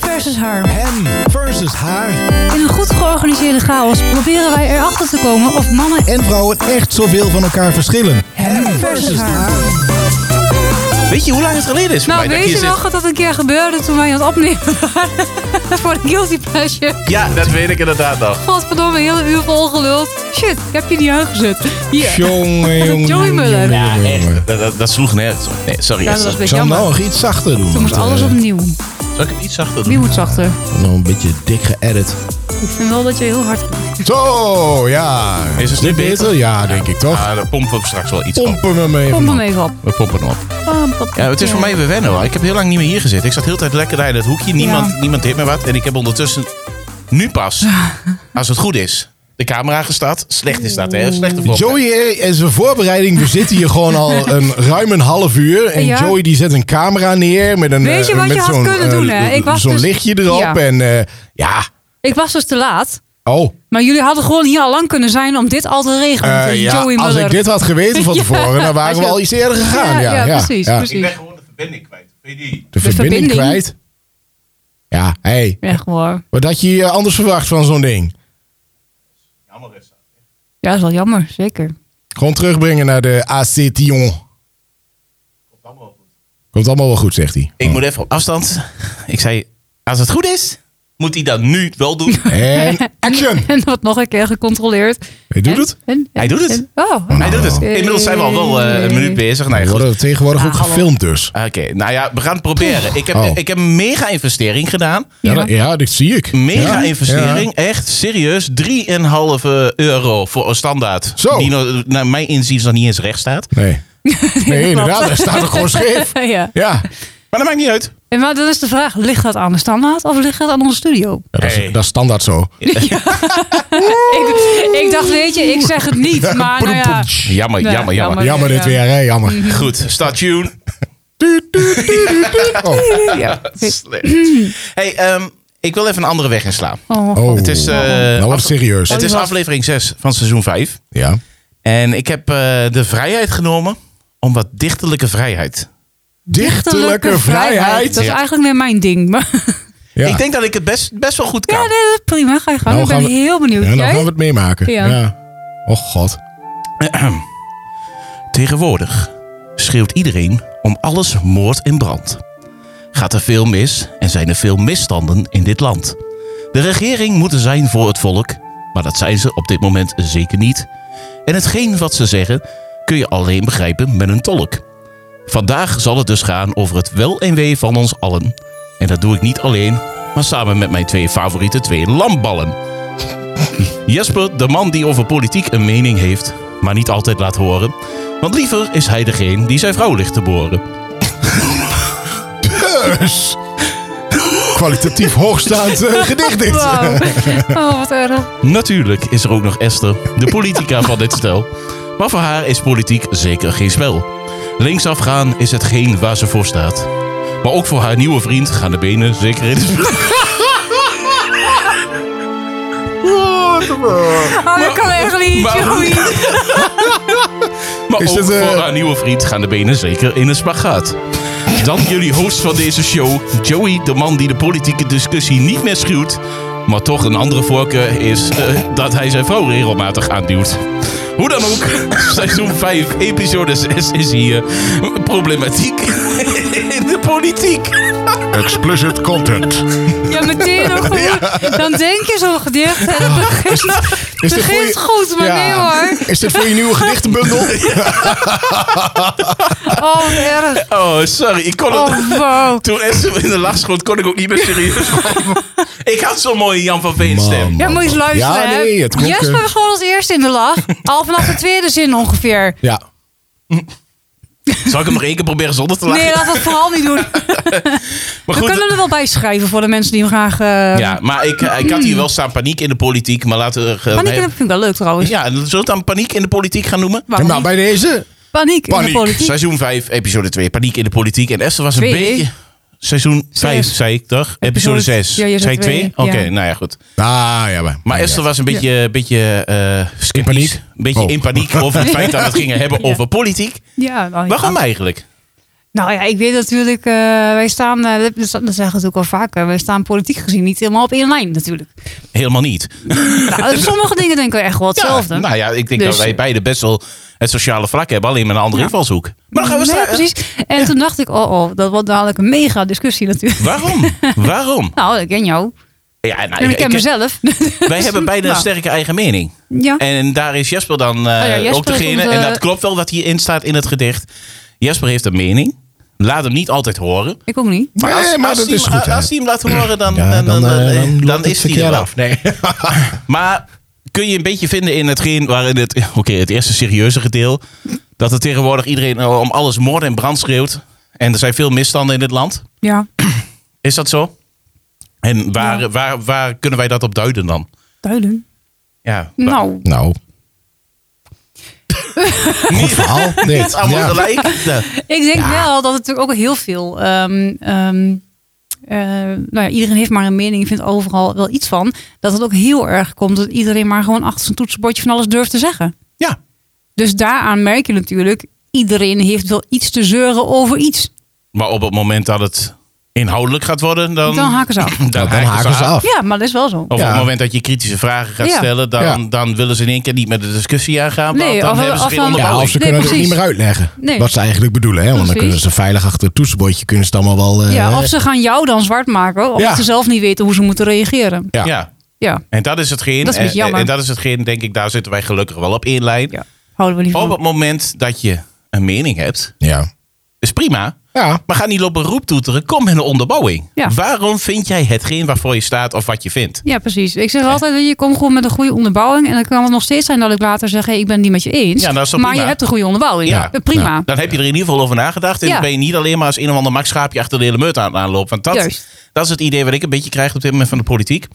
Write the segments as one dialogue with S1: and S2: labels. S1: versus haar.
S2: Hem versus haar.
S1: In een goed georganiseerde chaos proberen wij erachter te komen of mannen
S2: en vrouwen echt zoveel van elkaar verschillen.
S1: Hem versus haar.
S3: Weet je hoe lang het geleden is? voor
S1: Nou,
S3: mij dat
S1: weet
S3: ik
S1: je
S3: hier
S1: nog
S3: zit?
S1: dat dat een keer gebeurde toen wij aan het opnemen waren? Voor de guilty pleasure.
S3: Ja, dat weet ik inderdaad nog.
S1: Godverdomme, een hele uur vol geluld. Shit, ik heb je niet aangezet. Hier.
S2: Jongen, jongen.
S1: Joey Muller.
S2: jongen,
S3: Ja,
S2: jongen.
S3: echt. Dat, dat, dat sloeg nergens op. Nee, sorry.
S1: Ja, dat was een
S3: Esther.
S2: Ik
S1: beetje
S2: zal hem
S1: jammer.
S2: nou nog iets zachter doen.
S1: Toen moest
S2: want,
S1: alles
S2: eh,
S1: opnieuw.
S3: Zal ik het iets zachter doen?
S1: Wie moet zachter?
S2: Nog een beetje dik geëdit.
S1: Ik vind wel dat je heel hard...
S2: Zo, ja.
S3: Is het
S2: Dit
S3: nu beter?
S2: Ja, denk ik toch.
S3: Ah, dan pompen we straks wel iets op.
S2: Pompen we hem even.
S1: Kom hem
S2: op.
S1: even op.
S3: We pompen hem op.
S1: Pam, pam,
S3: Ja, het is voor mij weer wennen hoor. Ik heb heel lang niet meer hier gezeten. Ik zat heel de tijd lekker daar in het hoekje. Niemand,
S1: Ja.
S3: niemand deed me wat. En ik heb ondertussen, nu pas, als het goed is, de camera gestart. Slecht is dat, hè? Slechte vlog.
S2: Joey eh, en zijn voorbereiding, we zitten hier gewoon al een, ruim een half uur. En
S1: Ja.
S2: Joey die zet een camera neer met, een,
S1: Weet je
S2: eh,
S1: wat je
S2: met
S1: had
S2: zo'n,
S1: kunnen
S2: eh,
S1: doen, hè? Ik was
S2: zo'n
S1: dus-
S2: lichtje erop.
S1: Ja.
S2: En eh, ja,
S1: Ik was dus te laat.
S2: oh.
S1: Maar jullie hadden gewoon hier al lang kunnen zijn om dit al te regelen.
S2: Eh,
S1: Dus
S2: ja,
S1: Joey
S2: als
S1: Muller.
S2: ik dit had geweten van
S1: Ja,
S2: tevoren, dan
S1: als
S2: waren
S1: je-
S2: we al iets eerder gegaan. Ja,
S1: ja,
S2: ja,
S1: precies,
S2: ja.
S1: precies.
S3: gewoon de verbinding kwijt. Weet je niet.
S2: De, verbinding,
S1: verbinding.
S2: kwijt. Ja, hé. Hey,
S1: Echt hoor.
S2: wat had je eh, anders verwacht van zo'n ding?
S3: Jammer is dat.
S1: Ja, dat is wel jammer, zeker.
S2: Gewoon terugbrengen naar de AC Tion. Komt allemaal wel goed, zegt hij.
S3: Ik moet even op afstand. Ik zei, als het goed is, moet hij dat nu wel doen.
S2: En action!
S1: En dat nog een keer gecontroleerd.
S2: Hij doet
S1: En-
S2: het.
S1: en-
S3: Hij doet het.
S1: en- oh,
S3: Hij
S2: Nou.
S3: doet het. Inmiddels zijn we al wel eh, een minuut bezig. Nee,
S2: We
S3: goed.
S2: worden tegenwoordig ook gefilmd dus.
S3: Oké, nou ja, we gaan het proberen. Ik heb,
S2: Oh.
S3: ik heb een mega investering gedaan.
S2: Ja,
S1: Ja.
S2: dat, ja, dat zie ik.
S3: Mega
S2: Ja,
S3: investering,
S2: ja.
S3: echt serieus. 3,5 euro voor een standaard.
S2: Zo.
S3: Die no- naar mijn inziens nog niet eens recht staat.
S2: Nee. Nee, inderdaad, daar staat er gewoon scheef.
S1: ja.
S2: Ja,
S3: Maar dat maakt niet uit.
S1: En maar dan is de vraag, ligt dat aan de standaard of ligt dat aan onze studio?
S2: Ja, dat, is,
S3: Hey.
S2: dat is standaard
S1: Oh,
S2: zo.
S1: Ik, ik dacht, weet je, ik zeg het niet, maar nou ja.
S3: Jammer,
S1: Nee,
S3: jammer, jammer.
S1: jammer.
S2: Jammer dit
S1: Ja. Mhm.
S2: weer, hè? Jammer.
S3: Goed, start tune.
S2: Oh,
S1: ja.
S3: Slecht. hey, ehm, ik wil even een andere weg inslaan.
S1: Oh,
S2: oh.
S3: Het is, eh,
S2: nou wordt het serieus.
S3: Het is aflevering 6 van seizoen 5.
S2: Ja.
S3: En ik heb eh, de vrijheid genomen om wat dichterlijke vrijheid.
S2: Dichterlijke
S1: Dat
S2: vrijheid.
S1: is
S3: Ja.
S1: eigenlijk meer mijn ding. Maar,
S2: Ja.
S3: Ik denk dat ik het best, best wel goed kan.
S1: ja, nee, dat is prima. Ga je gang.
S2: Nou,
S1: ik ben
S2: gaan we-
S1: heel benieuwd.
S2: Ja, dan
S1: Jij?
S2: gaan we het meemaken.
S1: Ja.
S2: Ja. Och god.
S3: Tegenwoordig schreeuwt iedereen om alles moord en brand. Gaat er veel mis en zijn er veel misstanden in dit land. De regering moet er zijn voor het volk, maar dat zijn ze op dit moment zeker niet. En hetgeen wat ze zeggen kun je alleen begrijpen met een tolk. Vandaag zal het dus gaan over het wel en wee van ons allen. En dat doe ik niet alleen, maar samen met mijn twee favoriete twee lamballen. Jesper, de man die over politiek een mening heeft, maar niet altijd laat horen. Want liever is hij degene die zijn vrouw ligt te boren.
S2: Dus. Kwalitatief hoogstaand eh, gedicht dit.
S1: Wauw. Oh, wat erg.
S3: Natuurlijk is er ook nog Esther, de politica van dit stel. Maar voor haar is politiek zeker geen spel. Linksaf gaan is hetgeen waar ze voor staat. Maar ook voor haar nieuwe vriend gaan de benen zeker in de
S1: Oh, dat kan echt niet,
S3: maar-
S1: Joey.
S3: Maar
S2: Is
S3: ook
S2: dit, eh,
S3: voor haar nieuwe vriend gaan de benen zeker in een spagaat. Dan jullie host van deze show, Joey, de man die de politieke discussie niet meer schuwt. Maar toch een andere voorkeur is eh, dat hij zijn vrouw regelmatig aanduwt. Hoe dan ook, seizoen 5, episode 6 is hier. Problematiek in de politiek.
S2: Explicit content.
S1: Ja, meteen ook goed. Dan denk je zo'n gedicht en het begint,
S2: Oh. Is dit voor
S1: begint
S2: je-
S1: goed, maar
S2: Ja.
S1: nee hoor.
S2: Is dit voor je nieuwe gedichtenbundel?
S1: Oh, wat erg.
S3: Oh, sorry. Ik kon het,
S1: Oh, wow.
S3: Toen Esther in de lach schoot, kon ik ook niet meer serieus blijven. Ik had zo'n mooie Jan van Veen stem.
S2: Man.
S1: Ja, moet je eens luisteren.
S2: Ja,
S1: hè.
S2: nee, het klonk,
S1: Jesper
S2: eh,
S1: was gewoon als eerste in de lach. Al vanaf de tweede zin ongeveer.
S2: Ja.
S3: Zal ik hem nog één keer proberen zonder te lachen?
S1: Nee, laat dat vooral niet doen.
S3: maar
S1: We kunnen er wel bij schrijven voor de mensen die hem graag... eh
S3: Ja, maar ik, ik had hier wel staan paniek in de politiek, maar laten we... eh,
S1: Paniek in de,
S3: nee,
S1: vind ik wel leuk trouwens.
S3: Ja, zullen we het dan paniek in de politiek gaan noemen?
S1: Waarom
S2: Nou,
S1: niet?
S2: bij deze.
S1: Paniek, in
S2: Paniek.
S1: de politiek.
S3: Seizoen 5, episode 2, paniek in de politiek. En Esther was een
S1: Twee.
S3: beetje... Seizoen 5,
S1: Zes.
S3: zei ik toch? Episode 6.
S1: Ja, je zei
S3: zei ik 2?
S1: twee,
S3: Oké,
S1: ja.
S3: nou ja, goed.
S2: Ah, ja, maar.
S3: Maar Esther was een beetje, beetje eh sceptisch.
S2: paniek?
S3: Een beetje
S2: Oh.
S3: in paniek over het feit dat we het gingen hebben
S1: Ja. Oh,
S3: over politiek.
S1: Ja, nou, ja.
S3: Waarom eigenlijk?
S1: Nou ja, ik weet natuurlijk, eh, wij staan, eh, dat- dat zeggen we natuurlijk al vaker, wij staan politiek gezien niet helemaal op één lijn natuurlijk.
S3: Helemaal niet.
S1: Nou, sommige dingen denken we echt wel hetzelfde.
S3: Ja, nou ja, ik denk
S1: Dus-
S3: dat wij beide best wel het sociale vlak hebben, alleen met een andere
S1: Ja.
S3: invalshoek. Maar dan gaan we
S1: Nee,
S3: straks-
S1: precies. En toen dacht ik, oh oh, dat wordt dadelijk een mega discussie natuurlijk.
S3: Waarom? Waarom?
S1: Nou, ik ken jou.
S3: Ja, nou,
S1: En ik
S3: ik-
S1: ken
S3: ik-
S1: mezelf.
S3: wij hebben beide een
S1: Nou,
S3: sterke eigen mening.
S1: Ja. Oh
S3: En daar is Jesper dan eh,
S1: ja, Jesper
S3: ook degene.
S1: is onze-
S3: En dat klopt wel wat hierin staat in het gedicht. Jesper heeft een mening. Laat hem niet altijd horen.
S1: Ik ook niet.
S2: Nee,
S3: als,
S2: maar
S3: als
S2: dat
S3: hij
S2: is
S3: hem-
S2: goed. hè.
S3: Als hij hem laat horen, dan,
S2: Ja,
S3: dan, dan,
S2: dan, eh,
S3: dan-
S2: dan
S3: dan
S2: loopt het
S3: is hij
S2: verkeerd
S3: er af.
S2: af. Nee.
S3: Maar kun je een beetje vinden in hetgeen waarin het... Oké, het eerste serieuze gedeel. Dat er tegenwoordig iedereen eh, om alles moord en brand schreeuwt. En er zijn veel misstanden in dit land.
S1: Ja,
S3: Is dat zo? En waar, waar, waar kunnen wij dat op duiden dan?
S1: duidelijk.
S3: Ja, waar-
S1: Nou,
S2: Nou. Goed verhaal. Dit.
S3: Allemaal
S2: Ja. Nou,
S3: gelijk. Ja.
S1: ik denk
S2: Ja.
S1: wel dat het natuurlijk ook heel veel... ehm, ehm, eh, nou ja, iedereen heeft maar een mening, vindt overal wel iets van. Dat het ook heel erg komt dat iedereen maar gewoon achter zijn toetsenbordje van alles durft te zeggen.
S3: ja,
S1: Dus daaraan merk je natuurlijk, iedereen heeft wel iets te zeuren over iets.
S3: maar op het moment dat het inhoudelijk gaat worden, dan,
S1: Dan haken ze af.
S2: Dan haken ze af.
S1: Ja, maar dat is wel zo.
S3: Of op
S2: Ja.
S3: het moment dat je kritische vragen gaat
S1: Ja.
S3: stellen, dan,
S2: Ja.
S3: dan willen ze in één keer niet met de discussie aangaan.
S1: Nee,
S3: want dan
S1: of-
S3: hebben ze
S1: of
S3: geen
S1: dan-
S2: Ja, of
S3: onderbouwing.
S2: ze
S1: Nee,
S2: kunnen het
S1: precies.
S2: niet meer uitleggen.
S1: Nee.
S2: Wat ze eigenlijk bedoelen. Hè? Want dan
S1: Precies.
S2: kunnen ze veilig achter het toetsenbordje kunnen ze het allemaal wel... eh,
S1: Ja, of ze gaan jou dan zwart maken, omdat
S2: Ja.
S1: ze zelf niet weten hoe ze moeten reageren.
S2: Ja.
S3: Ja.
S1: Ja,
S3: En dat is hetgeen.
S1: Dat is een beetje
S3: en-
S1: jammer.
S3: En dat is hetgeen, denk ik, daar zitten wij gelukkig wel op één lijn.
S1: ja. houden we niet
S3: Op
S1: van.
S3: het moment dat je een mening hebt,
S2: ja.
S3: is prima.
S2: Ja.
S3: Maar ga niet op beroep toeteren. Kom met een onderbouwing.
S1: Ja.
S3: Waarom vind jij hetgeen waarvoor je staat of wat je vindt?
S1: Ja, precies. Ik zeg altijd, weet je komt gewoon met een goede onderbouwing. En dan kan het nog steeds zijn dat ik later zeg, hey, ik ben het niet met je eens.
S3: Ja, dat is
S1: maar
S3: toch prima?
S1: je hebt een goede onderbouwing.
S3: Ja.
S1: Eh, Prima.
S3: Dan heb je er in ieder geval over nagedacht. En
S1: Ja.
S3: dan ben je niet alleen maar als een of ander makschaapje achter de hele meurt aan het aanlopen. Want dat,
S1: Juist.
S3: dat is het idee wat ik een beetje krijg op dit moment van de politiek.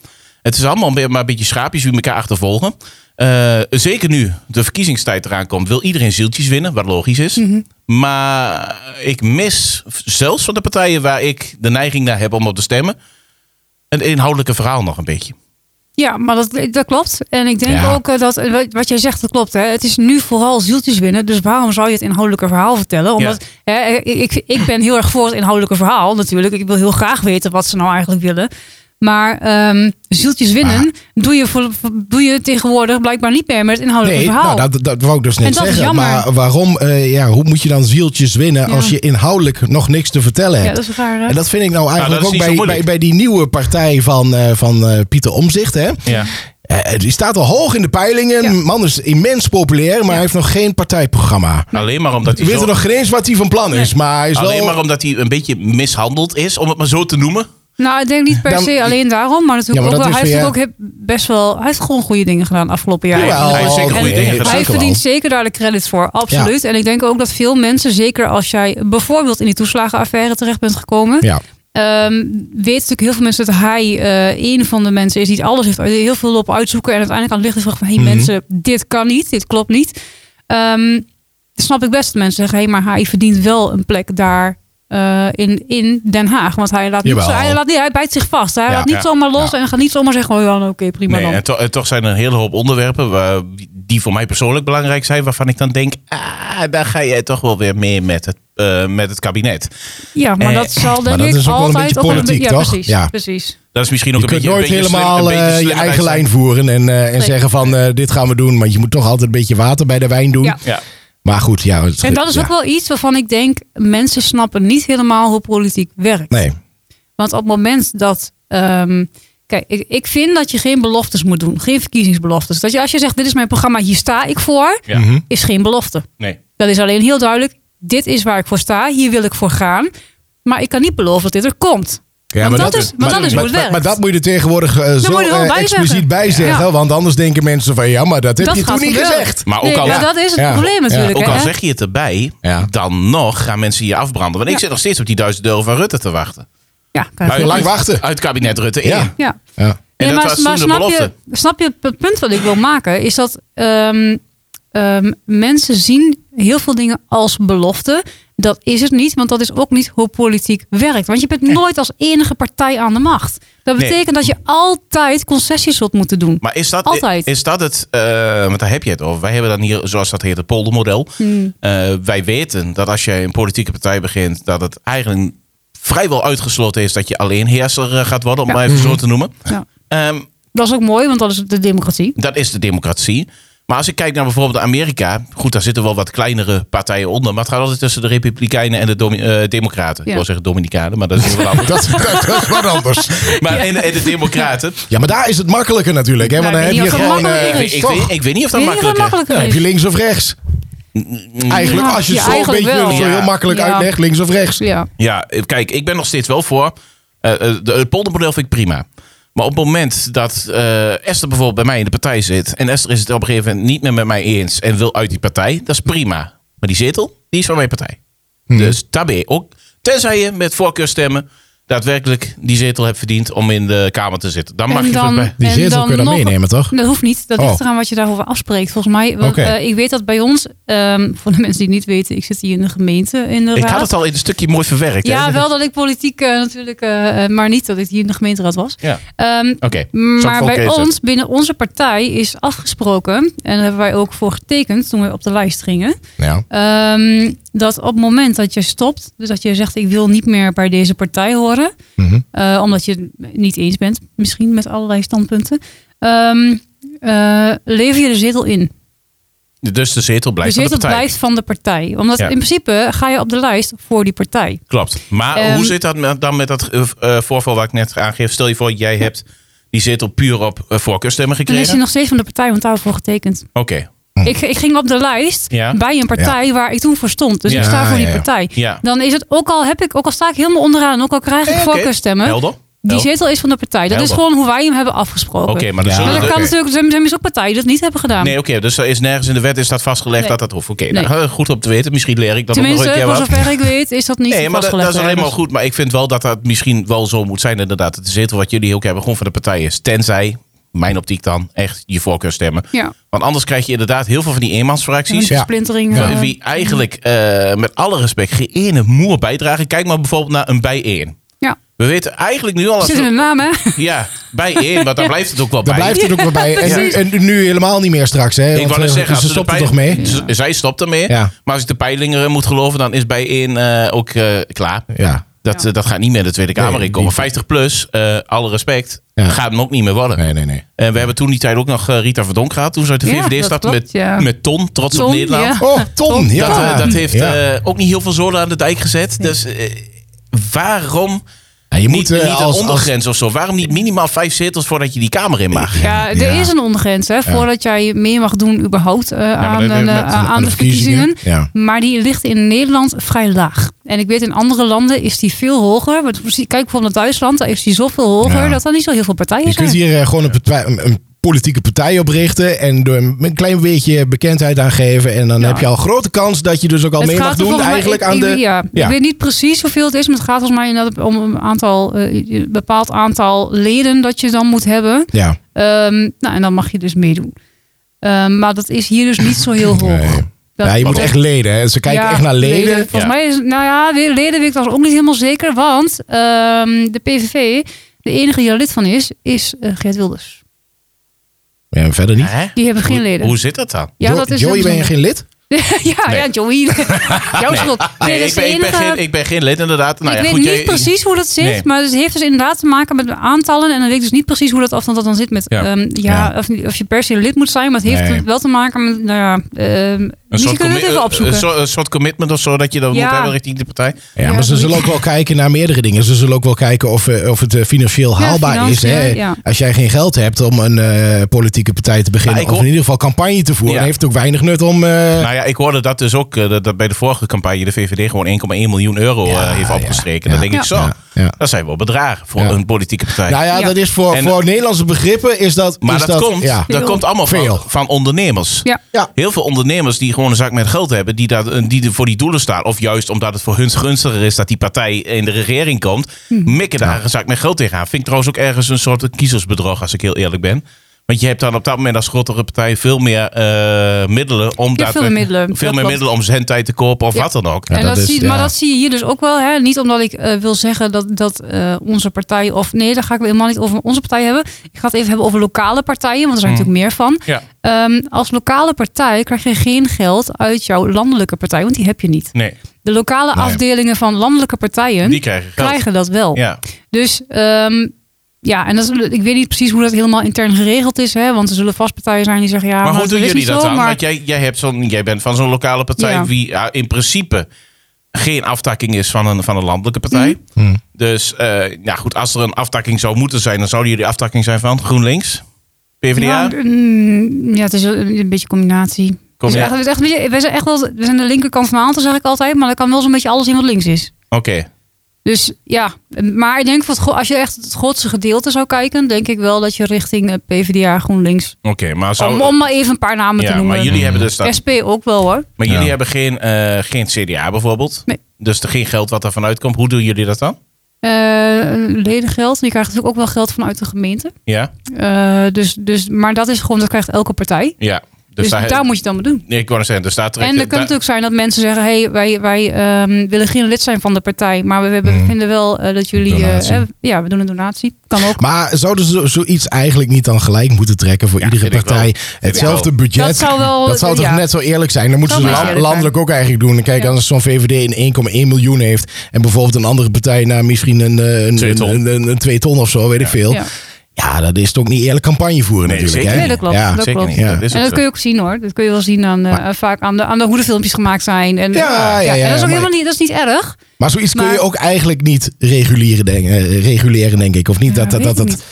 S3: Het is allemaal een be- maar een beetje schaapjes die elkaar achtervolgen. Eh, zeker nu de verkiezingstijd eraan komt, wil iedereen zieltjes winnen, wat logisch is.
S1: Mhm.
S3: Maar ik mis, zelfs van de partijen waar ik de neiging naar heb om op te stemmen, een inhoudelijke verhaal nog een beetje.
S1: Ja, maar dat, dat klopt. En ik denk
S2: Ja.
S1: ook eh, dat eh, wat jij zegt, dat klopt. Hè. Het is nu vooral zieltjes winnen. Dus waarom zou je het inhoudelijke verhaal vertellen? Omdat hè, eh, ik, ik, ik ben heel erg voor het inhoudelijke verhaal natuurlijk. Ik wil heel graag weten wat ze nou eigenlijk willen. Maar ehm, zieltjes winnen
S2: Ah.
S1: doe, je voor, voor- doe je tegenwoordig blijkbaar niet meer met het inhoudelijke
S2: Nee,
S1: verhaal.
S2: nou, dat, dat wou ik dus
S1: En
S2: net
S1: dat is
S2: zeggen.
S1: jammer.
S2: Maar waarom, eh, ja, hoe moet je dan zieltjes winnen
S1: Ja.
S2: als je inhoudelijk nog niks te vertellen hebt?
S1: ja, dat is raar. hè?
S2: En dat vind ik nou eigenlijk
S3: dat is
S2: ook
S3: niet zo
S2: bij,
S3: moeilijk.
S2: bij, bij die nieuwe partij van, eh, van eh, Pieter Omzicht. Hè?
S3: Ja.
S2: Eh, die staat al hoog in de peilingen.
S1: Ja.
S2: Man is immens populair, maar hij heeft nog geen partijprogramma.
S3: Alleen maar omdat
S2: We
S3: hij zo-
S2: weten nog geen eens wat hij van plan is. Maar hij is
S3: Alleen
S2: wel...
S3: maar omdat hij een beetje mishandeld is, om het maar zo te noemen.
S1: Nou, ik denk niet per
S2: Dan-
S1: se alleen daarom. Maar natuurlijk
S2: Ja, maar
S1: ook
S2: dat
S1: wel. Hij
S2: is
S1: heeft
S2: weer-
S1: natuurlijk ook he- best wel. Hij heeft gewoon goede dingen gedaan afgelopen jaar.
S2: Jawel,
S3: Hij heeft zeker goede
S2: nee,
S3: dingen
S2: zeker
S3: gedaan.
S1: Hij
S2: wel.
S1: verdient zeker daar de credits voor, absoluut. En ik denk ook dat veel mensen, zeker als jij bijvoorbeeld in die toeslagenaffaire terecht bent gekomen,
S2: Ja.
S1: ehm, weten natuurlijk heel veel mensen dat hij eh een van de mensen is die het alles heeft, heel veel lopen uitzoeken en uiteindelijk aan het licht is van, hey
S2: Mhm.
S1: mensen, dit kan niet, dit klopt niet. Ehm, dat snap ik best dat mensen zeggen, hey, maar hij verdient wel een plek daar. eh, in, in Den Haag. Want hij laat, niet,
S2: Jawel.
S1: zo- hij, laat niet, hij bijt zich vast. Hij
S2: Ja,
S1: laat niet
S3: ja,
S1: zomaar los
S2: ja.
S1: en gaat niet zomaar zeggen: Oh ja, nou, oké, prima
S3: Nee,
S1: dan.
S3: en, to- en toch zijn er een hele hoop onderwerpen waar- die voor mij persoonlijk belangrijk zijn, waarvan ik dan denk, ah, daar ga jij toch wel weer mee met het, eh, met het kabinet.
S1: Ja, maar
S3: Eh,
S1: dat zal
S2: maar
S1: denk
S2: dat
S1: ik
S2: is ook wel een
S1: altijd
S2: beetje
S1: ook wel een
S2: politiek,
S1: be-
S2: toch?
S1: Ja, precies.
S2: Ja.
S1: precies.
S3: Dat is misschien ook
S2: Je
S3: een
S2: kunt
S3: beetje
S2: nooit
S3: een beetje
S2: helemaal
S3: slim- een beetje
S2: eh, je
S3: slimmerheid
S2: eigen
S3: zijn.
S2: lijn voeren en, eh, en
S1: Nee.
S2: zeggen van eh, dit gaan we doen. Want je moet toch altijd een beetje water bij de wijn doen.
S1: Ja.
S3: Ja.
S2: Maar goed, ja. het-
S1: En dat is
S2: ja.
S1: ook wel iets waarvan ik denk, mensen snappen niet helemaal hoe politiek werkt.
S2: Nee,
S1: Want op het moment dat. ehm, kijk, ik, ik vind dat je geen beloftes moet doen, geen verkiezingsbeloftes. Dat je als je zegt, dit is mijn programma, hier sta ik voor,
S3: Ja.
S2: Mhm.
S1: is geen belofte.
S3: Nee.
S1: Dat is alleen heel duidelijk, dit is waar ik voor sta, hier wil ik voor gaan. Maar ik kan niet beloven dat dit er komt.
S2: Ja,
S1: Want dat is- want dat is hoe het
S2: maar,
S1: werkt.
S2: maar dat moet je er tegenwoordig eh, zo
S1: moet je er wel
S2: eh,
S1: bij
S2: expliciet
S1: zeggen.
S2: bij zeggen.
S1: Ja.
S2: Want anders denken mensen van ja, maar dat heb
S1: Dat
S2: je toen
S1: gaat
S2: niet
S1: gebeuren.
S2: gezegd.
S3: Maar ook
S1: Nee,
S3: al,
S1: maar dat is het
S2: Ja.
S1: probleem
S2: Ja.
S1: natuurlijk.
S3: ook al
S1: hè?
S3: zeg je het erbij,
S2: Ja.
S3: dan nog gaan mensen je afbranden. Want ik
S1: Ja.
S3: zit nog steeds op die duizend euro van Rutte te wachten.
S1: Ja, kan
S3: Nou,
S1: je
S2: Uit-
S1: goed.
S2: lang wachten.
S3: Uit kabinet Rutte 1.
S2: Ja.
S1: ja.
S2: Ja.
S3: En dat was toen de
S1: snap je, snap je het punt wat ik wil maken? Is dat ehm, ehm, mensen zien heel veel dingen als belofte. Dat is het niet, want dat is ook niet hoe politiek werkt. Want je bent nooit als enige partij aan de macht. Dat
S3: Nee.
S1: betekent dat je altijd concessies zult moeten doen.
S3: Maar is dat,
S1: Altijd.
S3: is dat het, eh, want daar heb je het over. Wij hebben dan hier, zoals dat heet, het poldermodel.
S1: Hmm.
S3: Eh, wij weten dat als je een politieke partij begint, dat het eigenlijk vrijwel uitgesloten is dat je alleenheerser eh, gaat worden, om
S1: Ja.
S3: maar even zo te noemen.
S1: Ja.
S3: Ehm,
S1: Dat is ook mooi, want dat is de democratie.
S3: dat is de democratie. Maar als ik kijk naar bijvoorbeeld Amerika, goed, daar zitten wel wat kleinere partijen onder, maar het gaat altijd tussen de Republikeinen en de Domi- eh, Democraten.
S1: Ja.
S3: Ik wil zeggen Dominicanen, maar dat is wat anders.
S2: Dat, dat, dat is wat anders.
S3: Maar en, en de Democraten.
S2: Ja, maar daar is het makkelijker natuurlijk. Hè? Want dan
S1: Nou,
S2: heb
S1: ik
S2: je
S1: weet niet of
S2: gewoon...
S1: dat
S2: eh,
S1: makkelijker
S3: Ik, ik,
S2: toch?
S3: weet, ik weet niet of dat
S1: Weet je wat
S3: makkelijk is.
S1: makkelijker
S2: Dan heb
S1: is?
S2: je links of rechts. Eigenlijk,
S1: Ja,
S2: als je het
S1: ja,
S2: zo een
S1: eigenlijk
S2: beetje
S1: wel.
S2: zo heel
S3: Ja.
S2: makkelijk
S1: Ja.
S2: uitlegt, links of rechts.
S1: Ja.
S3: Ja, eh, kijk, ik ben nog steeds wel voor. eh, eh, de- het poldermodel vind ik prima. Maar op het moment dat eh, Esther bijvoorbeeld bij mij in de partij zit. en Esther is het op een gegeven moment niet meer met mij eens. en wil uit die partij, dat is prima. Maar die zetel, die is van mijn partij. Dus daar ben je ook. Tenzij je met voorkeurstemmen. daadwerkelijk die zetel hebt verdiend. om in de Kamer te zitten. Dan mag
S1: En
S3: je
S1: dan-
S3: erbij.
S2: Die
S1: En
S2: zetel kun je dan
S1: nog-
S2: meenemen, toch?
S1: Dat hoeft niet. Dat
S2: Oh.
S1: ligt eraan wat je daarover afspreekt. Volgens mij, want,
S2: Oké.
S1: eh, ik weet dat bij ons, ehm, voor de mensen die het niet weten, ik zit hier in de gemeente in de
S3: Ik had
S1: raad.
S3: het al in een stukje mooi verwerkt. hè?
S1: Ja, wel dat ik politiek eh, natuurlijk, eh, eh, maar niet dat ik hier in de gemeenteraad was.
S3: Ja,
S1: Ehm,
S3: oké.
S1: maar bij
S3: Volkezen.
S1: ons, binnen onze partij, is afgesproken, en daar hebben wij ook voor getekend toen we op de lijst gingen,
S2: Ja.
S1: ehm, dat op het moment dat je stopt, dus dat je zegt ik wil niet meer bij deze partij horen,
S2: Mhm.
S1: eh, omdat je het niet eens bent, misschien met allerlei standpunten. Ehm, eh, lever je de zetel in.
S3: Dus de zetel blijft
S1: de
S3: van
S1: zetel
S3: de partij.
S1: blijft van de partij. Omdat
S3: Ja.
S1: in principe ga je op de lijst voor die partij.
S3: Klopt. Maar
S1: Ehm,
S3: hoe zit dat met- dan met dat eh, eh, voorval waar ik net aangeef? Stel je voor, jij hebt die zetel puur op eh, voorkeurstemmen
S1: Dan is
S3: gekregen.
S1: hij nog steeds van de partij, want daarvoor getekend.
S3: Oké.
S1: Ik, ik ging op de lijst
S3: Hm. Ja.
S1: bij een partij waar ik toen voor stond. Dus
S3: Ja,
S1: ik sta voor die
S2: ja, ja.
S1: partij.
S3: Ja.
S1: Dan is het, ook al heb ik, ook al sta ik helemaal onderaan, ook al krijg ik
S3: Eh, oké.
S1: voorkeurstemmen.
S3: Helder.
S1: Die
S3: Helder.
S1: zetel is van de partij. Dat is
S3: Helder.
S1: gewoon hoe wij hem hebben
S3: Oké,
S1: afgesproken.
S3: maar dan
S2: Ja.
S1: Maar
S3: zullen
S1: dat
S3: de-
S1: kan
S2: oké.
S1: natuurlijk, er zijn- er zijn dus ook partijen die dat niet hebben gedaan.
S3: Nee, oké. dus er is nergens in de wet is dat vastgelegd
S1: Nee.
S3: dat dat hoeft. Oké,
S1: Nee.
S3: nou, goed om te weten. Misschien leer ik dat ook nog een
S1: Tenminste,
S3: keer
S1: voor
S3: wat.
S1: zover ik weet, is dat niet
S3: Nee, maar dat, dat
S1: vastgelegd
S3: is alleen maar
S1: ergens.
S3: goed. Maar ik vind wel dat dat misschien wel zo moet zijn inderdaad. Dat de zetel wat jullie ook hebben gewoon van de partij is. Tenzij, mijn optiek dan, echt je voorkeurstemmen.
S1: Ja.
S3: Want anders krijg je inderdaad heel veel van die eenmansfracties.
S2: Ja.
S1: versplintering.
S3: Van Wie eigenlijk eh, met alle respect geen ene moer bijdragen. Kijk maar bijvoorbeeld naar een bijeen.
S1: Ja.
S3: We weten eigenlijk nu al... als-
S1: Zit in de naam, hè?
S3: ja, bijeen, want daar blijft het ook wel
S2: Daar
S3: bij.
S2: blijft het ook weer bij. En, nu,
S1: precies.
S2: en nu helemaal niet meer straks. Hè?
S3: ik
S2: Want,
S3: wou net
S2: eh,
S3: zeggen, als
S2: ze
S3: de Mm.
S2: stopt er
S3: peil-
S2: toch mee?
S3: Z- Zij stopt ermee.
S2: Ja.
S3: Maar als ik de peilingen eh, moet geloven, dan is bijeen eh ook eh, klaar.
S2: Ja.
S3: Dat, eh, dat gaat niet meer de Tweede Kamer
S2: Nee,
S3: in komen.
S2: die-
S3: 50 plus, eh, alle respect,
S2: Ja.
S3: gaat hem ook niet meer worden.
S2: Nee, nee, nee.
S3: En we hebben toen die tijd ook nog eh, Rita Verdonk gehad. Toen ze uit de
S1: Ja,
S3: VVD
S1: dat
S3: stapte
S1: klopt,
S3: met,
S1: ja.
S3: met Ton, trots op
S1: Ton,
S3: Nederland.
S1: ja.
S2: Oh, Ton. Ja.
S3: Dat, eh, dat heeft
S2: Ja.
S3: eh, ook niet heel veel zoden aan de dijk gezet. Dus eh, waarom
S2: Ja, je
S3: niet,
S2: moet, eh,
S3: niet
S2: als- als-
S3: een ondergrens of zo? Waarom niet minimaal vijf zetels voordat je die kamer in mag?
S1: Ja, er
S2: Ja.
S1: is een ondergrens, hè? Voordat jij meer mag doen, überhaupt eh, aan,
S3: dat
S1: de,
S3: heeft met-
S1: eh, aan de verkiezingen.
S2: Ja.
S1: Maar die ligt in Nederland vrij laag. En ik weet in andere landen is die veel hoger. Want Kijk bijvoorbeeld naar Duitsland, daar is die zoveel hoger
S2: Ja.
S1: dat er niet zo heel veel partijen
S2: Je kunt
S1: zijn.
S2: hier eh, gewoon een, partij- een- een politieke partij oprichten. En door een een klein beetje bekendheid aan geven. En dan
S1: Ja.
S2: heb je al grote kans dat je dus ook al mee mag
S1: er
S2: doen.
S1: volgens mij-
S2: Eigenlijk
S1: ik-
S2: aan
S1: ik-
S2: de...
S1: ja,
S2: ja.
S1: Ik weet niet precies hoeveel het is, maar het gaat volgens mij inderdaad om een aantal, eh, een bepaald aantal leden dat je dan moet hebben.
S2: Ja.
S1: Ehm, nou, en dan mag je dus meedoen. Ehm, maar dat is hier dus niet zo heel hoog.
S2: Nee.
S1: Dat-
S2: ja, je moet
S1: dat-
S2: echt leden. Hè. Ze kijken
S1: ja,
S2: echt naar leden.
S1: Volgens
S3: Ja.
S1: mij is, nou ja, weer leden weet ik dat ook niet helemaal zeker. Want ehm, de PVV, de enige die er lid van is, is eh, Geert Wilders.
S2: Ja, en verder niet.
S3: Hè?
S1: Die hebben geen
S3: Hoe-
S1: leden.
S3: Hoe zit dat dan?
S1: Ja,
S2: Jo-
S1: dat is
S2: Joey,
S1: heel
S2: ben je
S1: bijzonder.
S2: geen lid?
S1: ja,
S3: Nee.
S1: ja, Joey. Jouw schuld. Nee, dat
S3: Nee, ik,
S1: is de
S3: ben, ik, ben
S1: enige-
S3: geen, ik ben geen lid inderdaad. Nou,
S1: ik
S3: ja,
S1: weet
S3: goed,
S1: niet
S3: jij-
S1: precies hoe dat zit,
S3: Nee.
S1: maar het heeft dus inderdaad te maken met aantallen. En dan weet ik dus niet precies hoe dat afstand dat dan zit met ehm,
S3: Ja.
S1: ja.
S2: Ja.
S1: ja, of, of je per se lid moet zijn. Maar het heeft
S2: Nee.
S1: wel te maken met, nou ja, ehm
S3: Een
S1: misschien
S3: soort,
S1: kunnen we het
S3: commi-
S1: even
S3: een,
S1: opzoeken.
S3: soort, een soort commitment of zo dat je dan
S1: Ja.
S3: moet hebben richting de partij.
S2: Ja, maar ze
S1: dat
S2: zullen
S1: niet.
S2: ook wel kijken naar meerdere dingen. Ze zullen ook wel kijken of, eh, of het eh, financieel haalbaar is. Hè?
S1: financieel, ja.
S2: Als jij geen geld hebt om een eh, politieke partij te beginnen.
S3: Maar ik
S2: Of
S3: hoor-
S2: in ieder geval campagne te voeren.
S3: Ja.
S2: Dan heeft het ook weinig nut om... eh,
S3: Nou ja, ik hoorde dat dus ook, eh, dat, dat bij de vorige campagne de VVD gewoon 1,1 miljoen euro eh,
S2: Ja,
S3: heeft
S2: ja,
S3: opgestreken.
S2: ja.
S3: Dan denk ik zo,
S2: Ja, ja.
S3: dat zijn wel bedragen voor
S2: Ja.
S3: een politieke partij.
S2: nou ja,
S1: Ja.
S2: dat is voor,
S3: En-
S2: voor Nederlandse begrippen is dat...
S3: Maar
S2: is
S3: dat, komt,
S2: Ja.
S3: dat
S1: Veel.
S3: komt allemaal
S2: Veel.
S3: Van, van ondernemers.
S1: Ja.
S2: Ja.
S3: Heel veel ondernemers die gewoon een zak met geld hebben, die, dat, die er voor die doelen staan. Of juist omdat het voor hun gunstiger is dat die partij in de regering
S1: Hm.
S3: komt, mikken daar een zak met geld tegenaan. Vind ik trouwens ook ergens een soort kiezersbedrog, als ik heel eerlijk ben. Want je hebt dan op dat moment als grotere partij veel meer eh,
S1: hebt
S3: middelen om
S1: veel meer
S3: daadwerkelijk-
S1: middelen,
S3: veel
S1: dat
S3: meer
S1: klopt.
S3: middelen om zendtijd te kopen of
S1: Ja.
S3: wat dan ook.
S2: Ja,
S1: en
S2: dat
S1: dat
S2: is-
S1: zie,
S2: ja.
S1: Maar dat zie je hier dus ook wel. Hè? Niet omdat ik eh, wil zeggen dat, dat eh, onze partij... of nee, daar ga ik het helemaal niet over onze partij hebben. Ik ga het even hebben over lokale partijen, want er zijn
S3: Mm.
S1: natuurlijk meer van.
S3: Ja.
S1: Ehm, als lokale partij krijg je geen geld uit jouw landelijke partij, want die heb je niet.
S3: Nee,
S1: De lokale
S2: Nee.
S1: afdelingen van landelijke partijen
S3: die krijgen geld.
S1: krijgen dat wel.
S3: Ja,
S1: Dus ehm, ja, en dat is, ik weet niet precies hoe dat helemaal intern geregeld is. Hè? Want er zullen vast partijen zijn die zeggen... ja,
S3: maar, hoe
S1: dat
S3: doen
S1: is
S3: jullie
S1: niet
S3: dat
S1: zo,
S3: dan?
S1: maar-
S3: Want jij, jij, hebt zo'n, jij bent van zo'n lokale partij
S1: Ja.
S3: die ja, in principe geen aftakking is van een, van een landelijke partij.
S1: Mhm.
S2: Hm.
S3: Dus eh, ja, goed, als er een aftakking zou moeten zijn, dan zouden jullie aftakking zijn van GroenLinks, PvdA.
S1: Ja, mm, ja, het is een, een beetje combinatie.
S3: Kom,
S1: Dus
S3: ja.
S1: echt, het is echt een beetje, we zijn echt wel, we zijn de linkerkant van de hand, dat zeg ik altijd, maar dat kan wel zo'n beetje alles in wat links is.
S3: Oké,
S1: Dus ja, maar ik denk van het gro- als je echt het grootste gedeelte zou kijken, denk ik wel dat je richting eh, PvdA GroenLinks.
S3: oké, maar zou...
S1: Om, om maar even een paar namen te
S3: Oh, ja,
S1: noemen.
S3: maar jullie hebben dus dat,
S1: SP ook wel hoor.
S3: maar jullie
S2: Ja.
S3: hebben geen, eh, geen CDA bijvoorbeeld.
S1: Nee.
S3: Dus er geen geld wat daarvan uitkomt. Hoe doen jullie dat dan?
S1: Eh, ledengeld, die krijgt natuurlijk ook wel geld vanuit de gemeente.
S3: Ja,
S1: Eh, dus, dus, maar dat is gewoon, dat krijgt elke partij.
S3: ja.
S1: Dus, daar moet je dan mee doen.
S3: Nee, ik wou net zeggen, dus daar trek
S1: En het
S3: je-
S1: kan
S3: daar-
S1: natuurlijk zijn dat mensen zeggen: hé, hey, wij, wij ehm, willen geen lid zijn van de partij, maar we, hebben-
S2: Mm.
S1: vinden wel eh, dat jullie. eh,
S2: Donatie.
S1: eh, ja, we doen een donatie. Kan ook.
S2: Maar zouden ze zo- zoiets eigenlijk niet dan gelijk moeten trekken voor
S3: Ja,
S2: iedere
S3: vind ik wel.
S2: partij?
S3: Vind ik
S2: Hetzelfde budget.
S1: Dat zou wel-
S2: Dat zou toch
S1: ja.
S2: net zo eerlijk zijn? Dan moeten
S1: Zou
S2: ze
S1: wel
S2: land-
S1: eerlijk zijn.
S2: landelijk ook eigenlijk doen. En Kijk,
S1: Ja.
S2: als zo'n VVD een 1,1 miljoen heeft. en bijvoorbeeld een andere partij nou, misschien een 2 een,
S3: Twee ton.
S2: een, een- een twee ton of zo, weet ik veel.
S1: Ja.
S2: Ja. dat is toch niet eerlijk campagne voeren
S3: Nee,
S2: natuurlijk.
S3: zeker
S1: niet. Nee,
S2: hè?
S1: dat klopt.
S2: Ja.
S1: Dat
S3: Zeker
S1: klopt.
S3: niet.
S2: Ja.
S3: Dat is
S1: En
S3: ook
S1: dat
S3: zo.
S1: kun je ook zien hoor. Dat kun je wel zien aan, eh, vaak aan, de, aan de, hoe de filmpjes gemaakt zijn. En,
S2: Ja, ja, ja,
S1: en dat is ook
S2: maar-
S1: helemaal niet, dat is niet erg.
S2: Maar zoiets kun
S1: Maar-
S2: je ook eigenlijk niet reguleren, denk, eh, reguleren, denk ik. Of niet
S1: Ja,
S2: dat dat.
S1: weet
S2: dat,
S1: ik
S2: dat-
S1: niet.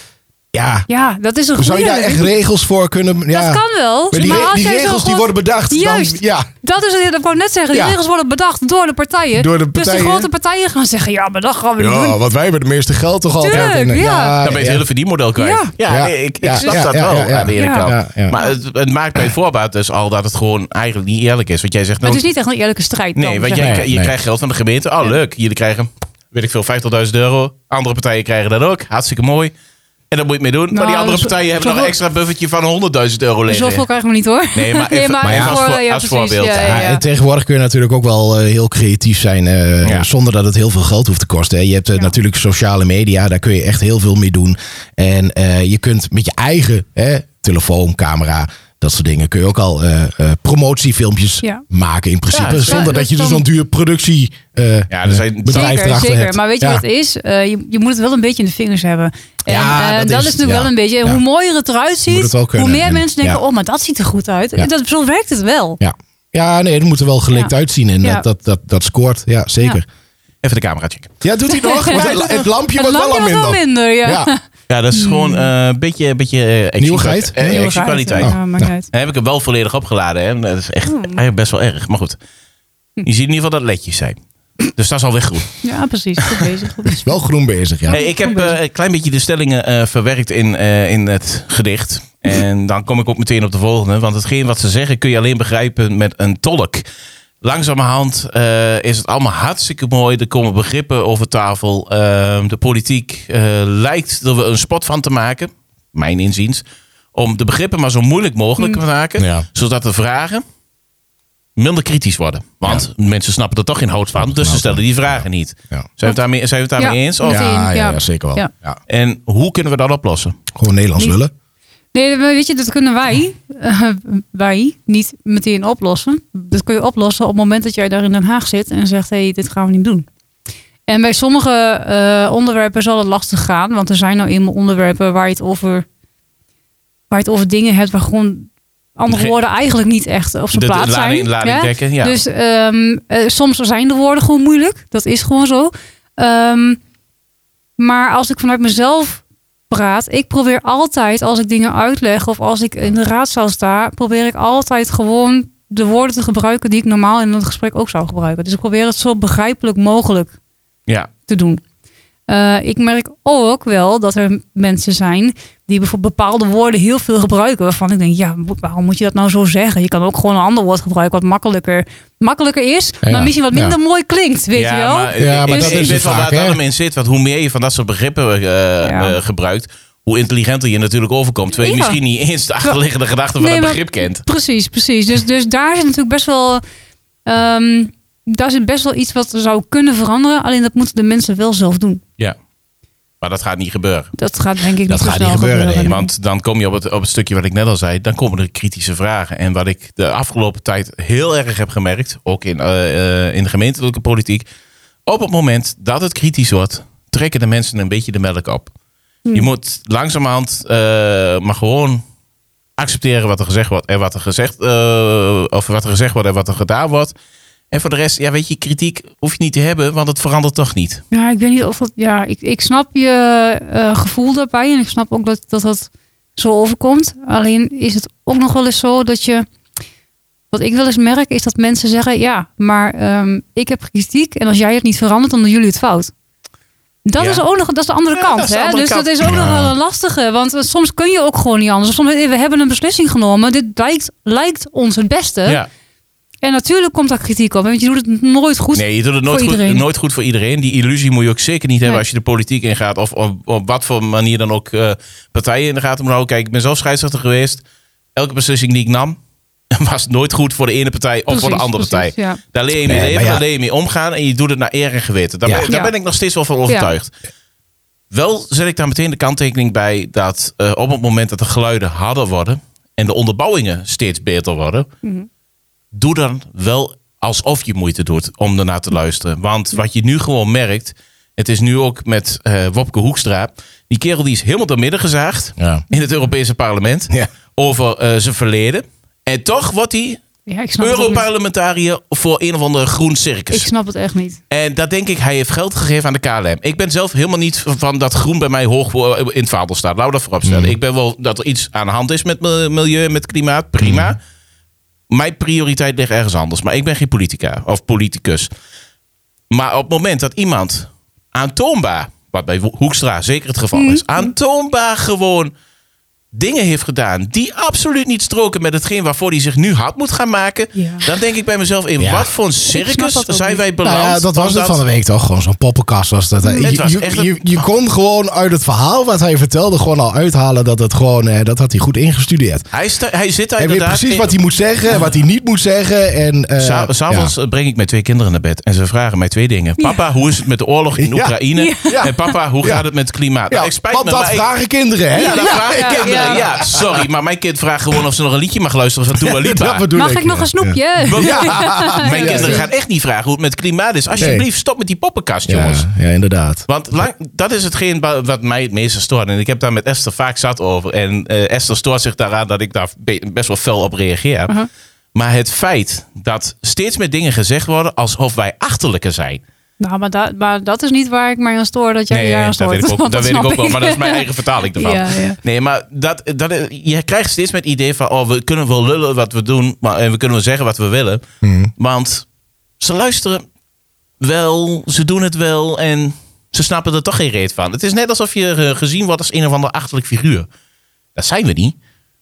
S2: ja.
S1: Ja, dat is een goede.
S2: Zou je daar echt regels voor kunnen. Ja.
S1: Dat kan wel.
S2: Maar die,
S1: maar als
S2: die
S1: jij zo
S2: regels die
S1: gewoon-
S2: worden bedacht.
S1: Juist.
S2: Dan, ja.
S1: Dat is het, dat wou ik net zeggen. Die
S2: Ja.
S1: regels worden bedacht door de partijen.
S2: Door de
S1: Dus
S2: partijen.
S1: de grote partijen gaan zeggen: ja, maar dat gaan we niet doen.
S2: Ja, want wij hebben het meeste geld toch altijd.
S1: Tuurlijk,
S2: En, eh,
S1: ja.
S3: Dan ben je het hele verdienmodel kwijt.
S1: Ja.
S2: Ja.
S3: Ah, nee, ik, ik
S2: Ja,
S3: snap
S2: ja,
S3: dat
S2: ja,
S3: wel
S2: ja, ja.
S3: aan de ene
S1: Ja.
S3: kant.
S2: Ja, ja.
S3: Maar het, het maakt bij voorbaat dus al dat het gewoon eigenlijk niet eerlijk is. Want jij zegt,
S1: Maar
S3: nou,
S1: het is niet echt een eerlijke strijd. dan,
S3: nee, want
S1: zeg
S3: jij,
S1: maar.
S3: je
S2: Nee.
S3: krijgt geld van de gemeente. Oh, leuk. Jullie krijgen, weet ik veel, 50.000 euro. Andere partijen krijgen dat ook. Hartstikke mooi. En daar moet je mee doen. maar
S1: Nou,
S3: die andere
S1: zo-
S3: partijen hebben nog
S1: zoveel-
S3: een extra buffertje van 100.000 euro liggen.
S1: Zoveel krijgen we niet hoor.
S3: Nee, maar even- maar ja, als voor-
S1: ja,
S3: als
S1: precies.
S3: voorbeeld.
S1: Ja,
S2: Ja,
S1: ja, ja.
S2: En tegenwoordig kun je natuurlijk ook wel eh, heel creatief zijn. eh,
S3: Ja.
S2: Zonder dat het heel veel geld hoeft te kosten. Hè. Je hebt eh,
S1: Ja.
S2: natuurlijk sociale media. Daar kun je echt heel veel mee doen. En eh, je kunt met je eigen hè, telefoon, camera. Dat soort dingen kun je ook al eh, eh, promotiefilmpjes
S1: Ja.
S2: maken in principe.
S3: Ja, dat is-
S2: zonder
S1: dat
S2: dat je
S1: is
S2: dus
S1: dan-
S2: zo'n duur productie eh,
S3: Ja, er zijn-
S2: bedrijf
S1: zeker,
S2: erachter
S1: zeker.
S2: hebt.
S1: Maar weet je
S2: Ja.
S1: wat het is? Eh, je, je moet het wel een beetje in de vingers hebben. En,
S2: Ja,
S1: eh,
S2: dat
S1: dat,
S2: is
S1: is
S2: het,
S1: natuurlijk
S2: ja.
S1: wel een beetje. en
S2: Ja.
S1: Hoe mooier het eruit ziet,
S2: het wel kunnen.
S1: hoe meer
S2: En-
S1: mensen denken:
S2: ja.
S1: oh, maar dat ziet er goed uit.
S2: Ja.
S1: Dat, zo werkt het wel.
S2: Ja. ja, nee, het moet er wel gelikt
S1: Ja.
S2: uitzien. En
S1: Ja.
S2: dat, dat, dat, dat scoort. Ja, zeker.
S3: Even de camera checken.
S2: Ja, doet hij nog? Want het, het lampje
S1: het
S2: wordt wel
S1: lampje
S2: al
S1: wordt wel
S2: minder.
S1: minder. Ja.
S2: Ja.
S3: Ja, dat is gewoon eh, een beetje, een beetje eh, actie-
S2: Nieuwigheid?
S3: eh,
S1: Heel
S3: actiekwaliteit.
S1: raar, Hmm. Ja, maakt niet uit.
S3: Dan heb ik hem wel volledig opgeladen. Hè? Dat is echt eigenlijk best wel erg. Maar goed, je ziet in ieder geval dat ledjes zijn. Dus dat is alweer goed.
S1: Ja, precies. Goed bezig. Goed bezig.
S2: Wel groen bezig, ja.
S3: Hey, ik heb eh, een klein beetje de stellingen eh, verwerkt in, eh, in het gedicht. En dan kom ik ook meteen op de volgende. Want hetgeen wat ze zeggen kun je alleen begrijpen met een tolk. Langzamerhand eh, is het allemaal hartstikke mooi. Er komen begrippen over tafel. Ehm, de politiek eh, lijkt er wel een spot van te maken. Mijn inziens. Om de begrippen maar zo moeilijk mogelijk te maken.
S2: Ja.
S3: Zodat de vragen minder kritisch worden. Want mensen snappen er toch geen hout van. Dus ze stellen die vragen niet.
S2: Ja.
S3: Zijn we het daarmee, zijn we het daarmee
S1: Ja.
S3: eens? Of
S1: Ja.
S2: Ja, ja,
S1: ja.
S2: ja, zeker wel. Ja.
S1: Ja.
S3: en hoe kunnen we dat oplossen?
S2: Gewoon Nederlands
S1: Niet-
S2: willen.
S1: Nee, maar weet je, dat kunnen wij, eh, wij niet meteen oplossen. Dat kun je oplossen op het moment dat jij daar in Den Haag zit en zegt: hé, hey, dit gaan we niet doen. En bij sommige eh, onderwerpen zal het lastig gaan, want er zijn nou eenmaal onderwerpen waar je het over, waar je het over dingen hebt waar gewoon andere
S3: Ge-
S1: woorden eigenlijk niet echt op zijn
S3: De- de
S1: plaats
S3: lading-
S1: zijn.
S3: lading
S1: Ja?
S3: dekken, ja.
S1: Dus ehm, eh, soms zijn de woorden gewoon moeilijk. Dat is gewoon zo. Ehm, maar als ik vanuit mezelf praat, ik probeer altijd als ik dingen uitleg of als ik in de raadzaal sta, probeer ik altijd gewoon de woorden te gebruiken die ik normaal in een gesprek ook zou gebruiken. Dus ik probeer het zo begrijpelijk mogelijk
S3: Ja,
S1: te doen. Eh, ik merk ook wel dat er mensen zijn die bijvoorbeeld bepaalde woorden heel veel gebruiken. Waarvan ik denk, ja, wa- waarom moet je dat nou zo zeggen? Je kan ook gewoon een ander woord gebruiken wat makkelijker, makkelijker is,
S2: Ja.
S1: maar misschien wat minder mooi klinkt, weet
S3: ja,
S1: je wel?
S3: Maar, eh,
S2: Ja, maar
S3: ik-
S2: dat
S3: ik
S2: is
S3: weet
S2: het
S3: wel
S2: vaak,
S3: waar
S2: hè?
S3: het allemaal in zit. Want hoe meer je van dat soort begrippen eh,
S1: Ja.
S3: eh, gebruikt, hoe intelligenter je natuurlijk overkomt. Terwijl je
S1: Ja.
S3: misschien niet eens de achterliggende gedachte van
S1: Nee,
S3: het
S1: maar-
S3: begrip kent.
S1: Precies, precies. Dus, dus daar zit natuurlijk best wel. ehm, daar zit best wel iets wat er zou kunnen veranderen. Alleen dat moeten de mensen wel zelf doen.
S3: Ja. Maar dat gaat niet gebeuren.
S1: Dat gaat denk ik
S2: Dat
S1: niet zo
S2: gaat
S1: snel
S2: niet gebeuren,
S1: gebeuren.
S2: nee,
S3: Want dan kom je op het, op het stukje wat ik net al zei. Dan komen er kritische vragen. En wat ik de afgelopen tijd heel erg heb gemerkt. Ook in, eh, eh, in de gemeentelijke politiek. Op het moment dat het kritisch wordt. Trekken de mensen een beetje de melk op. Je moet langzamerhand eh, maar gewoon accepteren wat er gezegd wordt. En wat er gezegd, eh, of wat er gezegd wordt en wat er gedaan wordt. En voor de rest, ja, weet je, kritiek hoef je niet te hebben. Want het verandert toch niet.
S1: Ja, ik weet niet of dat. Ja, ik, ik snap je eh, gevoel daarbij. En ik snap ook dat, dat dat zo overkomt. Alleen is het ook nog wel eens zo dat je. Wat ik wel eens merk is dat mensen zeggen: Ja, maar ehm, ik heb kritiek. En als jij het niet verandert, dan doen jullie het fout. Dat
S3: Ja.
S1: is ook nog dat is de andere
S3: Ja,
S1: kant.
S3: dat is de
S1: hè?
S3: andere
S1: dus
S3: kant.
S1: dat is ook nog
S2: Ja.
S1: wel een lastige. Want eh, soms kun je ook gewoon niet anders. Soms, we hebben een beslissing genomen. Dit lijkt, lijkt ons het beste.
S3: Ja.
S1: En natuurlijk komt daar kritiek op. Want je doet het nooit goed.
S3: Nee, je doet het nooit
S1: voor
S3: goed,
S1: iedereen.
S3: nooit goed voor iedereen. Die illusie moet je ook zeker niet hebben
S1: Nee.
S3: als je de politiek ingaat. Of op, op wat voor manier dan ook eh, partijen in de gaten moet houden. Kijk, ik ben zelf scheidsrechter geweest. Elke beslissing die ik nam, was nooit goed voor de ene partij of voor de
S1: Precies,
S3: andere
S1: precies,
S3: partij.
S1: ja.
S3: Daar leer je mee
S2: Nee, maar
S3: leven,
S2: ja.
S3: daar leer je mee omgaan. En je doet het naar eer en geweten. Daar,
S2: Ja.
S3: ben, daar
S1: Ja.
S3: ben ik nog steeds wel van overtuigd. Wel zet ik daar meteen de kanttekening bij dat eh, op het moment dat de geluiden harder worden en de onderbouwingen steeds beter worden, doe dan wel alsof je moeite doet om ernaar te luisteren. Want wat je nu gewoon merkt, het is nu ook met eh, Wopke Hoekstra, die kerel die is helemaal door midden gezaagd
S2: Ja.
S3: in het Europese parlement
S2: Ja.
S3: over eh, zijn verleden. En toch wordt hij
S1: Ja, ik snap het ook niet.
S3: Europarlementariër voor een of andere groen circus.
S1: Ik snap het echt niet.
S3: En dat denk ik, hij heeft geld gegeven aan de KLM. Ik ben zelf helemaal niet van dat groen bij mij hoog eh, in het vaandel staat. Laten we dat vooropstellen. Ik ben wel dat er iets aan de hand is met mil- milieu, en met klimaat. Prima. Mijn prioriteit ligt ergens anders. Maar ik ben geen politica of politicus. Maar op het moment dat iemand aantoonbaar, wat bij Wo- Hoekstra zeker het geval is, aantoonbaar gewoon dingen heeft gedaan die absoluut niet stroken met hetgeen waarvoor hij zich nu hard moet gaan maken,
S1: Ja.
S3: dan denk ik bij mezelf in
S2: Ja.
S3: wat voor een
S1: snap
S3: circus
S1: dat ook
S3: zijn
S1: niet.
S3: wij
S2: Nou
S3: beland?
S2: ja, dat was het
S3: Omdat-
S2: van de week toch? Gewoon zo'n poppenkast was dat. hè.
S3: Het was
S2: je,
S3: echt
S2: je,
S3: een-
S2: je, je kon gewoon uit het verhaal wat hij vertelde... gewoon al uithalen dat het gewoon... eh, dat had hij goed ingestudeerd.
S3: Hij, sta- hij zit daar
S2: Hij weet
S3: inderdaad...
S2: precies
S3: in-
S2: wat hij moet zeggen en wat hij niet moet zeggen. En, eh,
S3: Sa- S'avonds eh, breng ik mijn twee kinderen naar bed en ze vragen mij twee dingen. Papa, hoe is het met de oorlog in
S2: Ja.
S3: Oekraïne?
S2: Ja.
S3: En papa, hoe
S2: Ja.
S3: gaat het met het klimaat?
S2: ja.
S3: Nou,
S2: Ja,
S3: ik spijt
S2: want
S3: me,
S2: dat
S3: maar ik-
S2: vragen kinderen, hè?
S3: Ja, dat vragen
S1: ja,
S3: kinderen. Ja.
S1: ja.
S3: sorry, maar mijn kind vraagt gewoon of ze nog een liedje mag luisteren van Dua Lipa.
S2: dat bedoel
S1: Mag ik nog
S2: ja.
S1: een snoepje?
S3: Want-
S2: Ja.
S3: Mijn
S2: Ja.
S3: kinderen gaan echt niet vragen hoe het met het klimaat is. Alsjeblieft, stop met die poppenkast, jongens.
S2: Ja, ja, inderdaad.
S3: Want lang- dat is hetgeen ba- wat mij het meeste stoort. En ik heb daar met Esther vaak zat over. En eh, Esther stoort zich daaraan dat ik daar be- best wel fel op reageer. Maar het feit dat steeds meer dingen gezegd worden alsof wij achterlijker zijn.
S1: Nou, maar, da- maar dat is niet waar ik mij aan stoor dat jij je aan
S3: dat
S1: stoort.
S3: weet ik ook,
S1: Want
S3: dat weet ik
S1: snap
S3: ook wel. Maar dat is mijn eigen vertaling ervan.
S1: Ja, ja.
S3: Nee, maar dat, dat, je krijgt steeds met het idee van... Oh, we kunnen wel lullen wat we doen. Maar, en we kunnen wel zeggen wat we willen. Want ze luisteren wel. Ze doen het wel. En ze snappen er toch geen reet van. Het is net alsof je eh, gezien wordt als een of ander achterlijk figuur. Dat zijn we niet.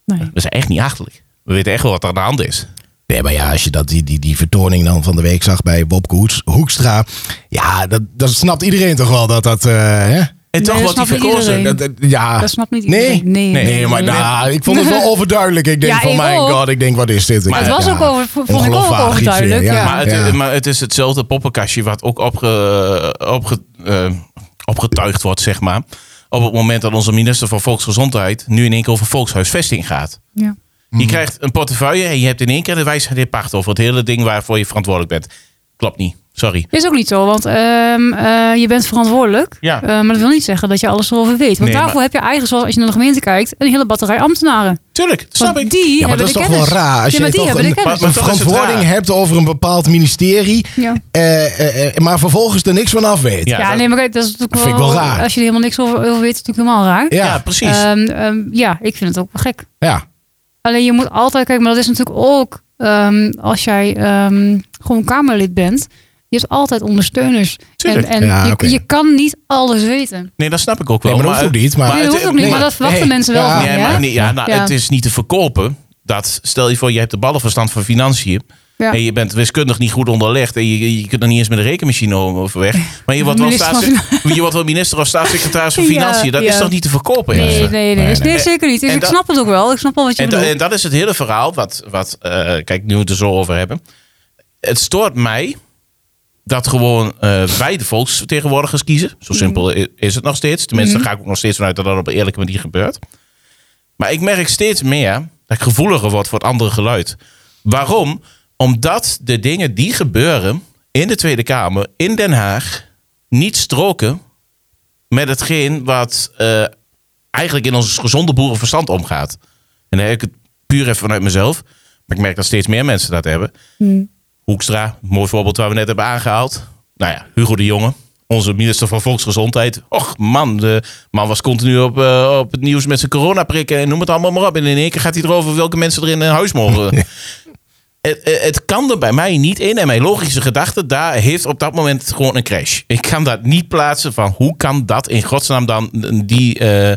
S1: Nee.
S3: We zijn echt niet achterlijk. We weten echt wel wat er aan de hand is.
S2: Nee, maar ja, als je dat, die, die, die vertoning dan van de week zag bij Bob Hoeks- Hoekstra. Ja, dat, dat snapt iedereen toch wel dat dat. eh, hè?
S3: En toch
S1: dat
S3: wordt die
S1: snapt niet
S3: verkozen.
S1: iedereen.
S2: Dat, dat- ja.
S1: Dat snapt niet
S2: nee.
S1: iedereen. Nee.
S2: Nee,
S1: Nee,
S2: maar
S1: nee.
S2: nou, ik vond het wel overduidelijk. Ik denk
S1: Ja,
S2: van,
S1: ik
S2: mijn
S1: ook.
S2: god, ik denk, wat is dit?
S1: Maar het was ook over- vond ik ook
S2: ongeloofwaardig iets weer,
S1: overduidelijk, ja.
S3: Maar het, eh,
S2: ja.
S3: maar het is hetzelfde poppenkastje wat ook opge, opge, eh, opgetuigd wordt, zeg maar. Op het moment dat onze minister van Volksgezondheid nu in één keer over volkshuisvesting gaat.
S1: Ja.
S3: Je
S2: Mhm.
S3: krijgt een portefeuille en je hebt in één keer de wijsheid in pacht over het hele ding waarvoor je verantwoordelijk bent. Klopt niet, sorry.
S1: Is ook niet zo, want ehm, eh, je bent verantwoordelijk.
S3: Ja.
S1: Eh, maar dat wil niet zeggen dat je alles erover weet. Want
S3: Nee,
S1: daarvoor
S3: maar-
S1: heb je eigenlijk, zoals als je naar de gemeente kijkt, een hele batterij ambtenaren.
S3: Tuurlijk,
S1: Want
S3: snap ik.
S1: die
S2: Ja,
S1: hebben
S2: maar dat is
S1: de
S2: toch wel
S1: kennis.
S2: raar. Als
S1: ja,
S2: je
S1: maar die
S2: toch
S1: hebben de
S2: een-
S1: kennis.
S3: Maar
S2: een
S3: toch is het
S2: verantwoording
S3: raar.
S2: hebt over een bepaald ministerie,
S1: Ja.
S2: eh, eh, eh, maar vervolgens er niks van af weet.
S3: Ja,
S1: Ja,
S3: dat-
S1: nee, maar kijk, dat is natuurlijk
S2: vind ik wel raar.
S1: Als je er helemaal niks over, over weet, is het natuurlijk helemaal raar.
S3: Ja,
S2: Ja,
S3: precies.
S1: Ehm, ehm, ja, ik vind het ook wel gek.
S2: ja.
S1: Alleen je moet altijd kijken, maar dat is natuurlijk ook ehm, als jij ehm, gewoon Kamerlid bent. Je hebt altijd ondersteuners.
S3: Tuurlijk.
S1: En, en
S2: Ja,
S1: je,
S2: oké.
S1: je kan niet alles weten.
S3: nee, dat snap ik ook wel.
S2: Nee, maar dat hoeft ook niet. Maar,
S1: Nee, dat hoeft ook niet, maar dat verwachten
S2: Nee.
S1: mensen wel
S2: Ja,
S1: van je.
S3: Nee,
S1: hè?
S3: maar nee, ja, nou,
S1: Ja.
S3: Het is niet te verkopen. Dat, stel je voor, je hebt de ballenverstand van financiën.
S1: Ja.
S3: En je bent wiskundig niet goed onderlegd. En je, je kunt er niet eens met een rekenmachine over weg. Maar je wordt wel,
S1: Minister
S3: staats-
S1: van
S3: je wordt wel minister of staatssecretaris van
S1: Ja,
S3: Financiën. Dat is
S1: ja.
S3: toch niet te verkopen?
S1: Nee,
S3: ergens?
S1: nee, nee,
S2: Nee,
S1: nee,
S2: nee.
S1: nee, zeker niet. Dus
S3: En
S1: ik
S3: dat-
S1: snap het ook wel. Ik snap wel wat je
S3: En, da-
S1: bedoelt.
S3: en dat is het hele verhaal wat, wat eh, kijk, nu we het er zo over hebben. Het stoort mij dat gewoon eh, wij de volksvertegenwoordigers kiezen.
S1: Mhm.
S3: Zo simpel i- is het nog steeds. Tenminste, daar ga ik ook nog steeds vanuit dat dat op een eerlijke manier gebeurt. Maar ik merk steeds meer dat ik gevoeliger word voor het andere geluid. Waarom? Omdat de dingen die gebeuren in de Tweede Kamer, in Den Haag, niet stroken met hetgeen wat eh, eigenlijk in ons gezonde boerenverstand omgaat. En dan heb ik het puur even vanuit mezelf. Maar ik merk dat steeds meer mensen dat hebben. Hoekstra, mooi voorbeeld waar we net hebben aangehaald. Nou ja, Hugo de Jonge, onze minister van Volksgezondheid. Och man, de man was continu op, eh, op het nieuws met zijn coronaprikken en noem het allemaal maar op. En in één keer gaat hij erover welke mensen er in hun huis mogen. Het, het- het kan er bij mij niet in. En mijn logische gedachte daar heeft op dat moment gewoon een crash. Ik kan dat niet plaatsen van hoe kan dat in godsnaam dan die... eh,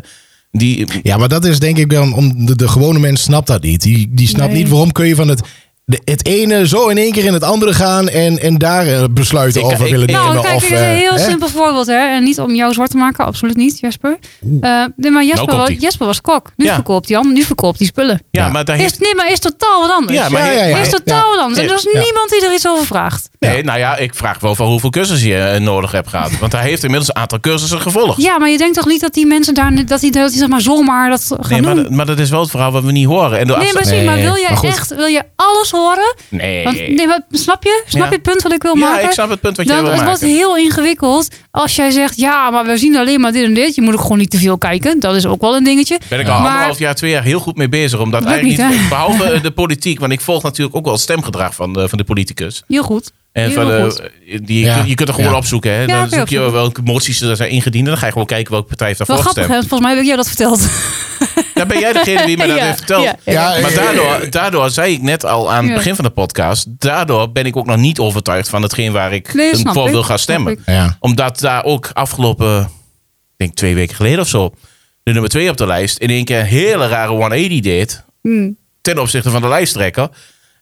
S3: die
S2: Ja, maar dat is denk ik dan, om de, de gewone mens snapt dat niet. Die, die snapt
S1: Nee.
S2: niet waarom kun je van het, de- het ene zo in één keer in het andere gaan en, en daar eh, besluiten
S3: Ik-
S2: over
S3: ik-
S2: willen
S3: ik-
S2: nemen.
S1: Nou, kijk,
S2: of,
S1: dit is een
S2: eh,
S1: heel
S2: hè?
S1: simpel voorbeeld. Hè? En niet om jou zwart te maken, absoluut niet, Jesper. Eh, nee, maar Jesper,
S3: komt-ie.
S1: was, Jesper was kok. Nu
S3: Ja.
S1: verkoopt Jan, nu verkoopt hij spullen.
S3: ja,
S2: Ja.
S3: maar daar heeft
S1: Is, nee, maar is totaal wat anders.
S3: Ja, maar-
S2: Ja, ja, ja.
S1: is totaal wat anders. En er is
S2: Ja.
S1: niemand die er iets over vraagt.
S3: Nee, nou ja, ik vraag wel van hoeveel cursussen je eh, nodig hebt gehad. Want hij heeft inmiddels een aantal cursussen gevolgd.
S1: Ja, maar je denkt toch niet dat die mensen daar, dat die, dat die zeg maar zomaar dat gaan
S3: nee, maar,
S1: doen?
S3: dat- maar dat is wel het verhaal wat we niet horen. En de
S1: Nee,
S3: afsta-
S1: precies. maar
S2: Nee,
S1: wil jij
S2: maar goed.
S1: echt, wil je alles horen?
S3: nee.
S1: Want, nee, maar snap je? Snap
S3: Ja.
S1: je het punt wat ik wil
S3: ja,
S1: maken?
S3: ik snap het punt wat jij
S1: Dan,
S3: wil
S1: het
S3: maken.
S1: wordt heel ingewikkeld als jij zegt, ja, maar we zien alleen maar dit en dit. Je moet ook gewoon niet te veel kijken. Dat is ook wel een dingetje.
S3: ben ik al
S1: Maar-
S3: anderhalf jaar, twee jaar heel goed mee bezig. Omdat
S1: Lukt
S3: eigenlijk
S1: niet,
S3: niet, behalve eh, de politiek, want ik volg natuurlijk ook wel het stemgedrag van de, van de politicus.
S1: Heel goed.
S3: En
S1: Heel
S3: van, eh,
S1: goed.
S3: die,
S2: Ja.
S3: je, kunt er gewoon
S2: Ja.
S3: opzoeken. Hè?
S1: Ja,
S3: Dan
S1: kun je
S3: zoek je
S1: opzoeken.
S3: welke moties er zijn ingediend. En dan ga je gewoon kijken welke partij heeft
S1: Wel
S3: daarvoor
S1: grappig, hè?
S3: gestemd.
S1: volgens mij heb ik jou dat verteld.
S3: Dan ben jij degene die mij dat
S1: Ja,
S3: heeft verteld.
S1: ja.
S2: Ja,
S3: Maar
S2: eh,
S3: daardoor, daardoor zei ik net al aan het
S1: Ja.
S3: begin van de podcast. Daardoor ben ik ook nog niet overtuigd van hetgeen waar ik
S1: Nee, snap
S3: voor
S1: ik.
S3: wil gaan
S1: Snap
S3: stemmen.
S1: ik.
S2: Ja.
S3: Omdat daar ook afgelopen, ik denk twee weken geleden of zo, de nummer twee op de lijst in één keer een hele rare 180 deed.
S1: Hmm.
S3: Ten opzichte van de lijsttrekker.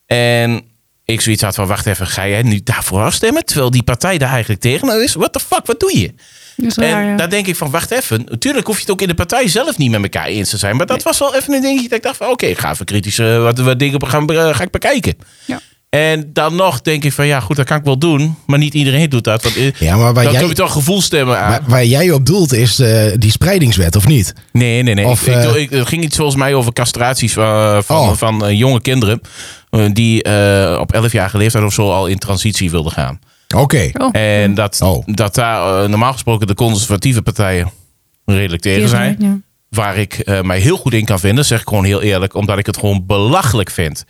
S3: En ik zoiets had van, wacht even, ga jij nu daarvoor afstemmen? Terwijl die partij daar eigenlijk tegen is. What the fuck, wat doe je?
S1: Dat is raar,
S3: en
S1: ja.
S3: daar denk ik van, wacht even. Natuurlijk hoef je het ook in de partij zelf niet met elkaar eens te zijn. Maar dat was wel even een dingetje dat ik dacht van, oké, ik ga even kritisch eh, wat, wat dingen gaan, eh, ga ik bekijken.
S1: Ja.
S3: En dan nog denk ik van, ja goed, dat kan ik wel doen. Maar niet iedereen doet dat. Want, eh,
S2: Ja, maar waar
S3: dan
S2: jij-
S3: doe je toch gevoelstemmen aan.
S2: Waar, waar jij op doelt is eh, die spreidingswet, of niet?
S3: nee, nee, nee.
S2: Of,
S3: ik, ik
S2: eh,
S3: doe- ik- het ging iets volgens mij over castraties van, van,
S2: Oh.
S3: van, eh, jonge kinderen. eh, die eh, op 11-jarige leeftijd of zo al in transitie wilden gaan.
S2: Oké.
S1: Oh.
S3: En dat,
S2: Oh.
S3: dat daar eh, normaal gesproken de conservatieve partijen redelijk tegen
S1: Tegen
S3: zijn.
S1: zijn,
S3: Waar ik eh, mij heel goed in kan vinden, zeg ik gewoon heel eerlijk, omdat ik het gewoon belachelijk vind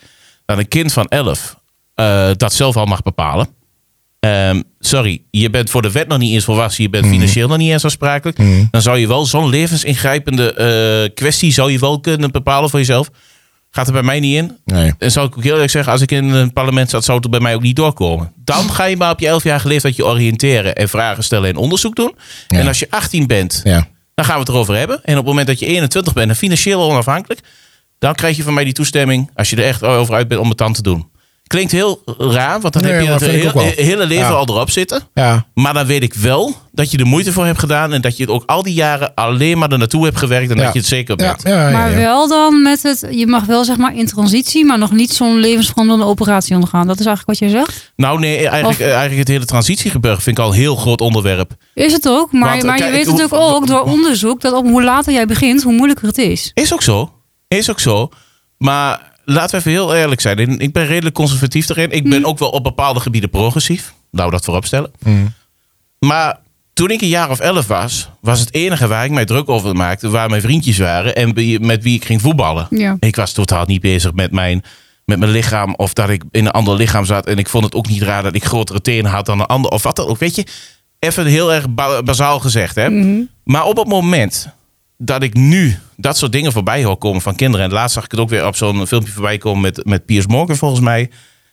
S3: dat een kind van 11 eh, dat zelf al mag bepalen. Ehm, sorry, je bent voor de wet nog niet eens volwassen, je bent
S2: Mhm.
S3: financieel nog niet eens aansprakelijk. Dan zou je wel zo'n levensingrijpende eh, kwestie zou je wel kunnen bepalen voor jezelf. Gaat er bij mij niet in.
S2: Nee.
S3: En zou ik ook heel eerlijk zeggen, als ik in een parlement zat, zou het er bij mij ook niet doorkomen. Dan ga je maar op je 11 jaar leeftijd je oriënteren en vragen stellen en onderzoek doen.
S2: Ja.
S3: En als je 18 bent,
S2: Ja.
S3: dan gaan we het erover hebben. En op het moment dat je 21 bent en financieel onafhankelijk, dan krijg je van mij die toestemming als je er echt over uit bent om het dan te doen. Klinkt heel raar, want dan
S2: Nee,
S3: heb je
S2: maar
S3: het
S2: vind ik ook
S3: heel-
S2: wel.
S3: hele leven
S2: Ja.
S3: al erop zitten.
S2: Ja.
S3: Maar dan weet ik wel dat je er moeite voor hebt gedaan en dat je het ook al die jaren alleen maar er naartoe hebt gewerkt en
S2: Ja.
S3: dat je het zeker
S2: Ja,
S3: bent.
S2: ja, ja, ja.
S1: Maar wel dan met het, je mag wel zeg maar in transitie, maar nog niet zo'n levensveranderende operatie ondergaan. Dat is eigenlijk wat je zegt.
S3: Nou nee, eigenlijk,
S1: Of-
S3: eh, eigenlijk het hele transitiegebeuren vind ik al een heel groot onderwerp.
S1: Is het ook, maar,
S3: Want, eh,
S1: maar je
S3: kijk,
S1: weet
S3: hoe-
S1: natuurlijk ook door onderzoek dat op hoe later jij begint, hoe moeilijker het is.
S3: Is ook zo. Is ook zo. Maar laten we even heel eerlijk zijn. En Ik ben redelijk conservatief erin. Ik ben ook wel op bepaalde gebieden progressief. Laten we dat voorop stellen. Maar toen ik een jaar of elf was, was het enige waar ik mij druk over maakte, waar mijn vriendjes waren en wie- met wie ik ging voetballen.
S1: Ja.
S3: Ik was totaal niet bezig met mijn, met mijn lichaam of dat ik in een ander lichaam zat. En ik vond het ook niet raar dat ik grotere tenen had dan een ander of wat dan ook. Weet je, even heel erg ba- bazaal gezegd. Hè? Maar op het moment dat ik nu dat soort dingen voorbij hoor komen van kinderen. En laatst zag ik het ook weer op zo'n filmpje voorbij komen met, met Piers Morgan volgens mij.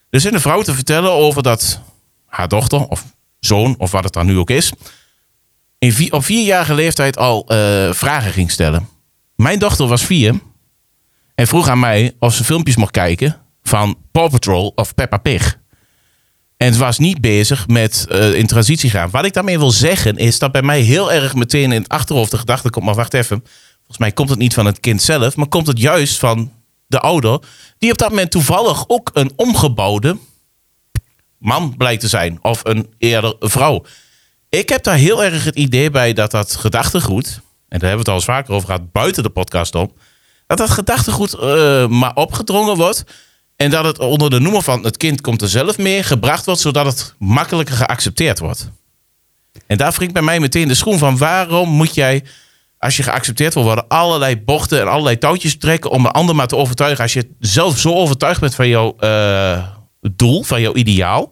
S3: Er zit een vrouw te vertellen over dat haar dochter of zoon of wat het dan nu ook is. In vi- op vierjarige leeftijd al eh, vragen ging stellen. Mijn dochter was vier en vroeg aan mij of ze filmpjes mocht kijken van Paw Patrol of Peppa Pig. En het was niet bezig met eh, in transitie gaan. Wat ik daarmee wil zeggen is dat bij mij heel erg meteen in het achterhoofd de gedachte komt. Maar wacht even. Volgens mij komt het niet van het kind zelf. Maar komt het juist van de ouder. Die op dat moment toevallig ook een omgebouwde man blijkt te zijn. Of een eerder vrouw. Ik heb daar heel erg het idee bij dat dat gedachtegoed. En daar hebben we het al eens vaker over gehad buiten de podcast om. Dat dat gedachtegoed eh, maar opgedrongen wordt. En dat het onder de noemer van het kind komt er zelf mee gebracht wordt, zodat het makkelijker geaccepteerd wordt. En daar wringt bij mij meteen de schoen van waarom moet jij, als je geaccepteerd wil worden, allerlei bochten en allerlei touwtjes trekken om een ander maar te overtuigen. Als je zelf zo overtuigd bent van jouw eh, doel, van jouw ideaal,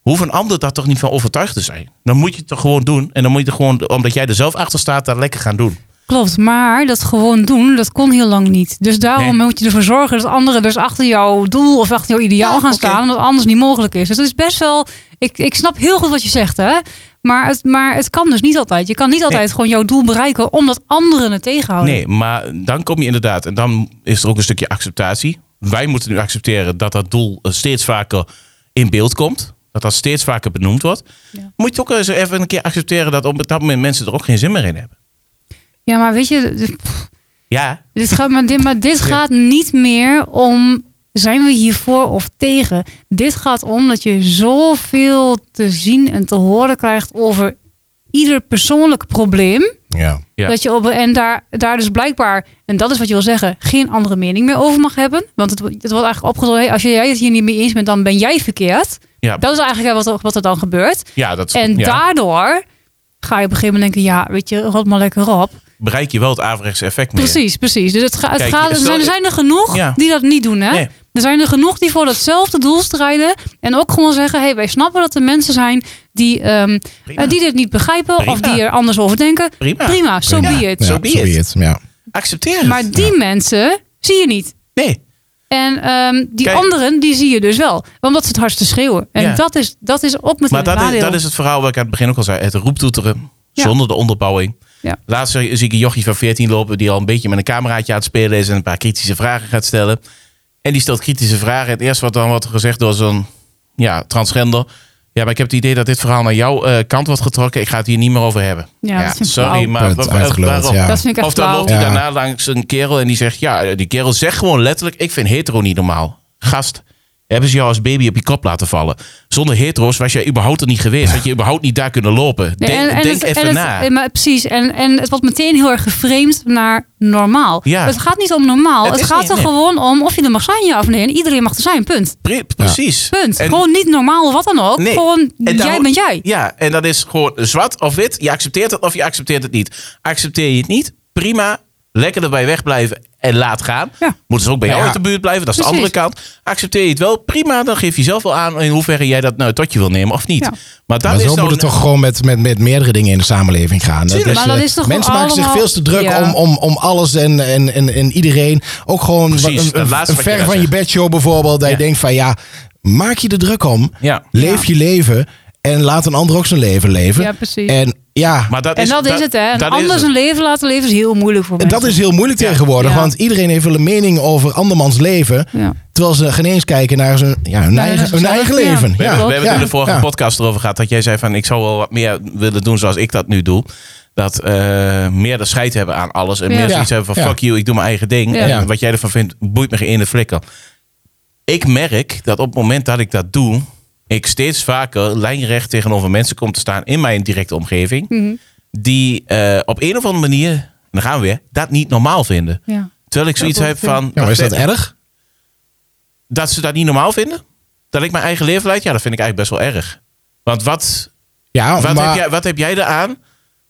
S3: hoeft een ander daar toch niet van overtuigd te zijn. Dan moet je het toch gewoon doen. En dan moet je het gewoon, omdat jij er zelf achter staat, dat lekker gaan
S1: Oh
S3: doen.
S1: Klopt, maar dat gewoon doen, dat kon heel lang niet. Dus daarom
S3: Nee.
S1: moet je ervoor zorgen dat anderen dus achter jouw doel of achter jouw ideaal
S3: Ja,
S1: gaan
S3: oké.
S1: staan, omdat het anders niet mogelijk is. Dus dat is best wel, ik, ik snap heel goed wat je zegt, hè. Maar het, maar het kan dus niet altijd. Je kan niet altijd gewoon jouw doel bereiken omdat anderen het tegenhouden.
S3: Nee, maar dan kom je inderdaad, en dan is er ook een stukje acceptatie. Wij moeten nu accepteren dat dat doel eh, steeds vaker in beeld komt. Dat dat steeds vaker benoemd wordt.
S1: Ja.
S3: Moet je ook eens even een keer accepteren dat op dat moment mensen er ook geen zin meer in hebben.
S1: Ja, maar weet je,
S3: Ja,
S1: Dit gaat, maar dit, maar dit gaat niet meer om zijn we hiervoor of tegen. Dit gaat om dat je zoveel te zien en te horen krijgt over ieder persoonlijk probleem.
S2: Ja.
S3: Ja.
S1: Dat je op, en daar, daar dus blijkbaar, en dat is wat je wil zeggen, geen andere mening meer over mag hebben. Want het, wo- het wordt eigenlijk opgedrongen, hey, als jij het hier niet mee eens bent, dan ben jij verkeerd.
S3: ja,
S1: Dat is eigenlijk wat, er- wat er dan gebeurt.
S3: ja dat
S1: En
S3: ja,
S1: daardoor ga je op een gegeven moment denken, ja, weet je, rot maar lekker op.
S3: bereik je wel het averechts effect mee.
S1: Precies, precies. Dus het ga, het
S3: Kijk,
S1: gaat, er,
S3: stel-
S1: zijn, er zijn er genoeg
S3: Ja.
S1: die dat niet doen. Hè?
S3: Nee.
S1: Er zijn er genoeg die voor datzelfde doel strijden. En ook gewoon zeggen, hey, wij snappen dat er mensen zijn die, ehm,
S3: Prima.
S1: eh, die dit niet begrijpen of
S3: Prima.
S1: die er anders over denken.
S3: Prima.
S1: Prima, so
S2: Prima.
S1: be it.
S2: Ja,
S3: So be
S2: so
S3: it.
S2: Ja.
S3: Accepteer het.
S1: Maar die mensen zie je niet.
S3: nee,
S1: En ehm, die
S3: Kijk.
S1: anderen, die zie je dus wel. Omdat ze het hardste schreeuwen. En
S3: Ja.
S1: dat, is, dat is ook meteen
S3: maar
S1: een
S3: dat is,
S1: nadeel.
S3: dat is het verhaal wat ik aan het begin ook al zei. Het roeptoeteren
S1: Ja.
S3: zonder de onderbouwing.
S1: Ja.
S3: Laatst zie zie ik een jochie van 14 lopen die al een beetje met een cameraatje aan het spelen is en een paar kritische vragen gaat stellen. En die stelt kritische vragen. Het eerste wat dan wordt gezegd door zo'n ja, transgender. Ja, maar ik heb het idee dat dit verhaal naar jouw eh, kant wordt getrokken. Ik ga het hier niet meer over hebben.
S1: Ja, dat vind ik
S3: sorry,
S1: flauw.
S3: maar wa- wa-
S2: Uitgeluld,
S3: waarom?
S2: ja.
S1: Dat vind ik echt
S3: Of dan
S1: flauw.
S3: loopt hij
S2: Ja.
S3: daarna langs een kerel en die zegt... Ja, die kerel zegt gewoon letterlijk... Ik vind hetero niet normaal. Gast, hebben ze jou als baby op je kop laten vallen? Zonder hetero's was jij überhaupt er niet geweest. Had je überhaupt niet daar kunnen lopen.
S1: Nee,
S3: Denk,
S1: en- en
S3: denk
S1: het-
S3: even
S1: en het-
S3: na.
S1: eh, maar precies. En, en het wordt meteen heel erg geframed naar normaal.
S3: Ja.
S1: Het gaat niet om normaal.
S3: Het
S1: Het,
S3: is
S1: gaat
S3: niet,
S1: er
S3: nee.
S1: gewoon om of je er mag zijn, ja of nee. En iedereen mag er zijn, punt.
S3: Pre- Precies.
S1: Punt.
S3: En-
S1: gewoon niet normaal, wat dan ook.
S3: Nee.
S1: Gewoon,
S3: En daar-
S1: jij bent jij.
S3: Ja, en dat is gewoon zwart of wit. Je accepteert het of je accepteert het niet. Accepteer je het niet, prima. Lekker erbij wegblijven en laat gaan.
S1: Ja.
S3: Moeten ze ook bij jou
S2: Ja.
S3: uit de buurt blijven. Dat is de
S1: Precies.
S3: andere kant. Accepteer je het wel, prima. Dan geef je zelf wel aan in hoeverre jij dat nou tot je wil nemen of niet.
S1: Ja.
S3: Maar dat
S2: Maar
S3: is
S2: zo
S3: nou
S2: moet het
S3: een-
S2: toch gewoon met, met, met meerdere dingen in de samenleving gaan. Dat
S3: Tuurlijk.
S1: Maar dat
S2: eh,
S1: is toch
S2: mensen maken zich
S1: allemaal-
S2: veel te druk
S1: Ja.
S2: om, om, om alles en, en, en, en iedereen. Ook gewoon
S3: Precies,
S2: wat-
S3: dat
S2: een,
S3: laatste
S2: een
S3: wat je
S2: ver
S3: daar
S2: van je
S3: zegt.
S2: bedshow bijvoorbeeld. Dat
S3: Ja.
S2: je denkt van ja, maak je er druk om.
S3: Ja.
S2: Leef je leven. En laat een ander ook zijn leven leven.
S1: Ja, precies.
S2: En ja,
S3: Maar dat
S1: en
S3: is,
S1: dat, is het, hè. En
S3: dat is
S1: anders
S3: het.
S1: een leven laten leven is heel moeilijk voor mensen.
S2: dat is heel moeilijk tegenwoordig.
S1: Ja.
S2: Want iedereen heeft wel een mening over andermans leven.
S1: Ja.
S2: Terwijl ze geen eens kijken naar zijn, ja, hun,
S1: Ja,
S2: eigen,
S1: dat is
S2: hun eigen
S1: zelf, ja.
S2: leven.
S3: We
S2: Ja.
S3: hebben, we hebben
S2: ja,
S3: het in de vorige
S2: ja.
S3: podcast erover gehad dat jij zei van ik zou wel wat meer willen doen zoals ik dat nu doe. Dat eh, meer de scheid hebben aan alles. En
S1: Ja.
S3: meer
S2: Ja.
S3: zoiets hebben van
S2: Ja.
S3: fuck you, ik doe mijn eigen ding.
S1: Ja.
S2: Ja.
S3: En wat jij ervan vindt, boeit me geen ene flikker. Ik merk dat op het moment dat ik dat doe, ik steeds vaker lijnrecht tegenover mensen kom te staan in mijn directe omgeving.
S1: Mhm.
S3: Die eh, op een of andere manier, en dan gaan we weer, dat niet normaal vinden.
S1: Ja.
S3: Terwijl ik zoiets
S1: dat
S3: heb
S1: vind ik.
S3: van...
S2: Ja, maar is
S3: wacht
S2: dat erg?
S3: dat ze dat niet normaal vinden? Dat ik mijn eigen leven leid? Ja, dat vind ik eigenlijk best wel erg. Want wat,
S2: Ja,
S3: wat,
S2: maar,
S3: heb, jij, wat heb jij eraan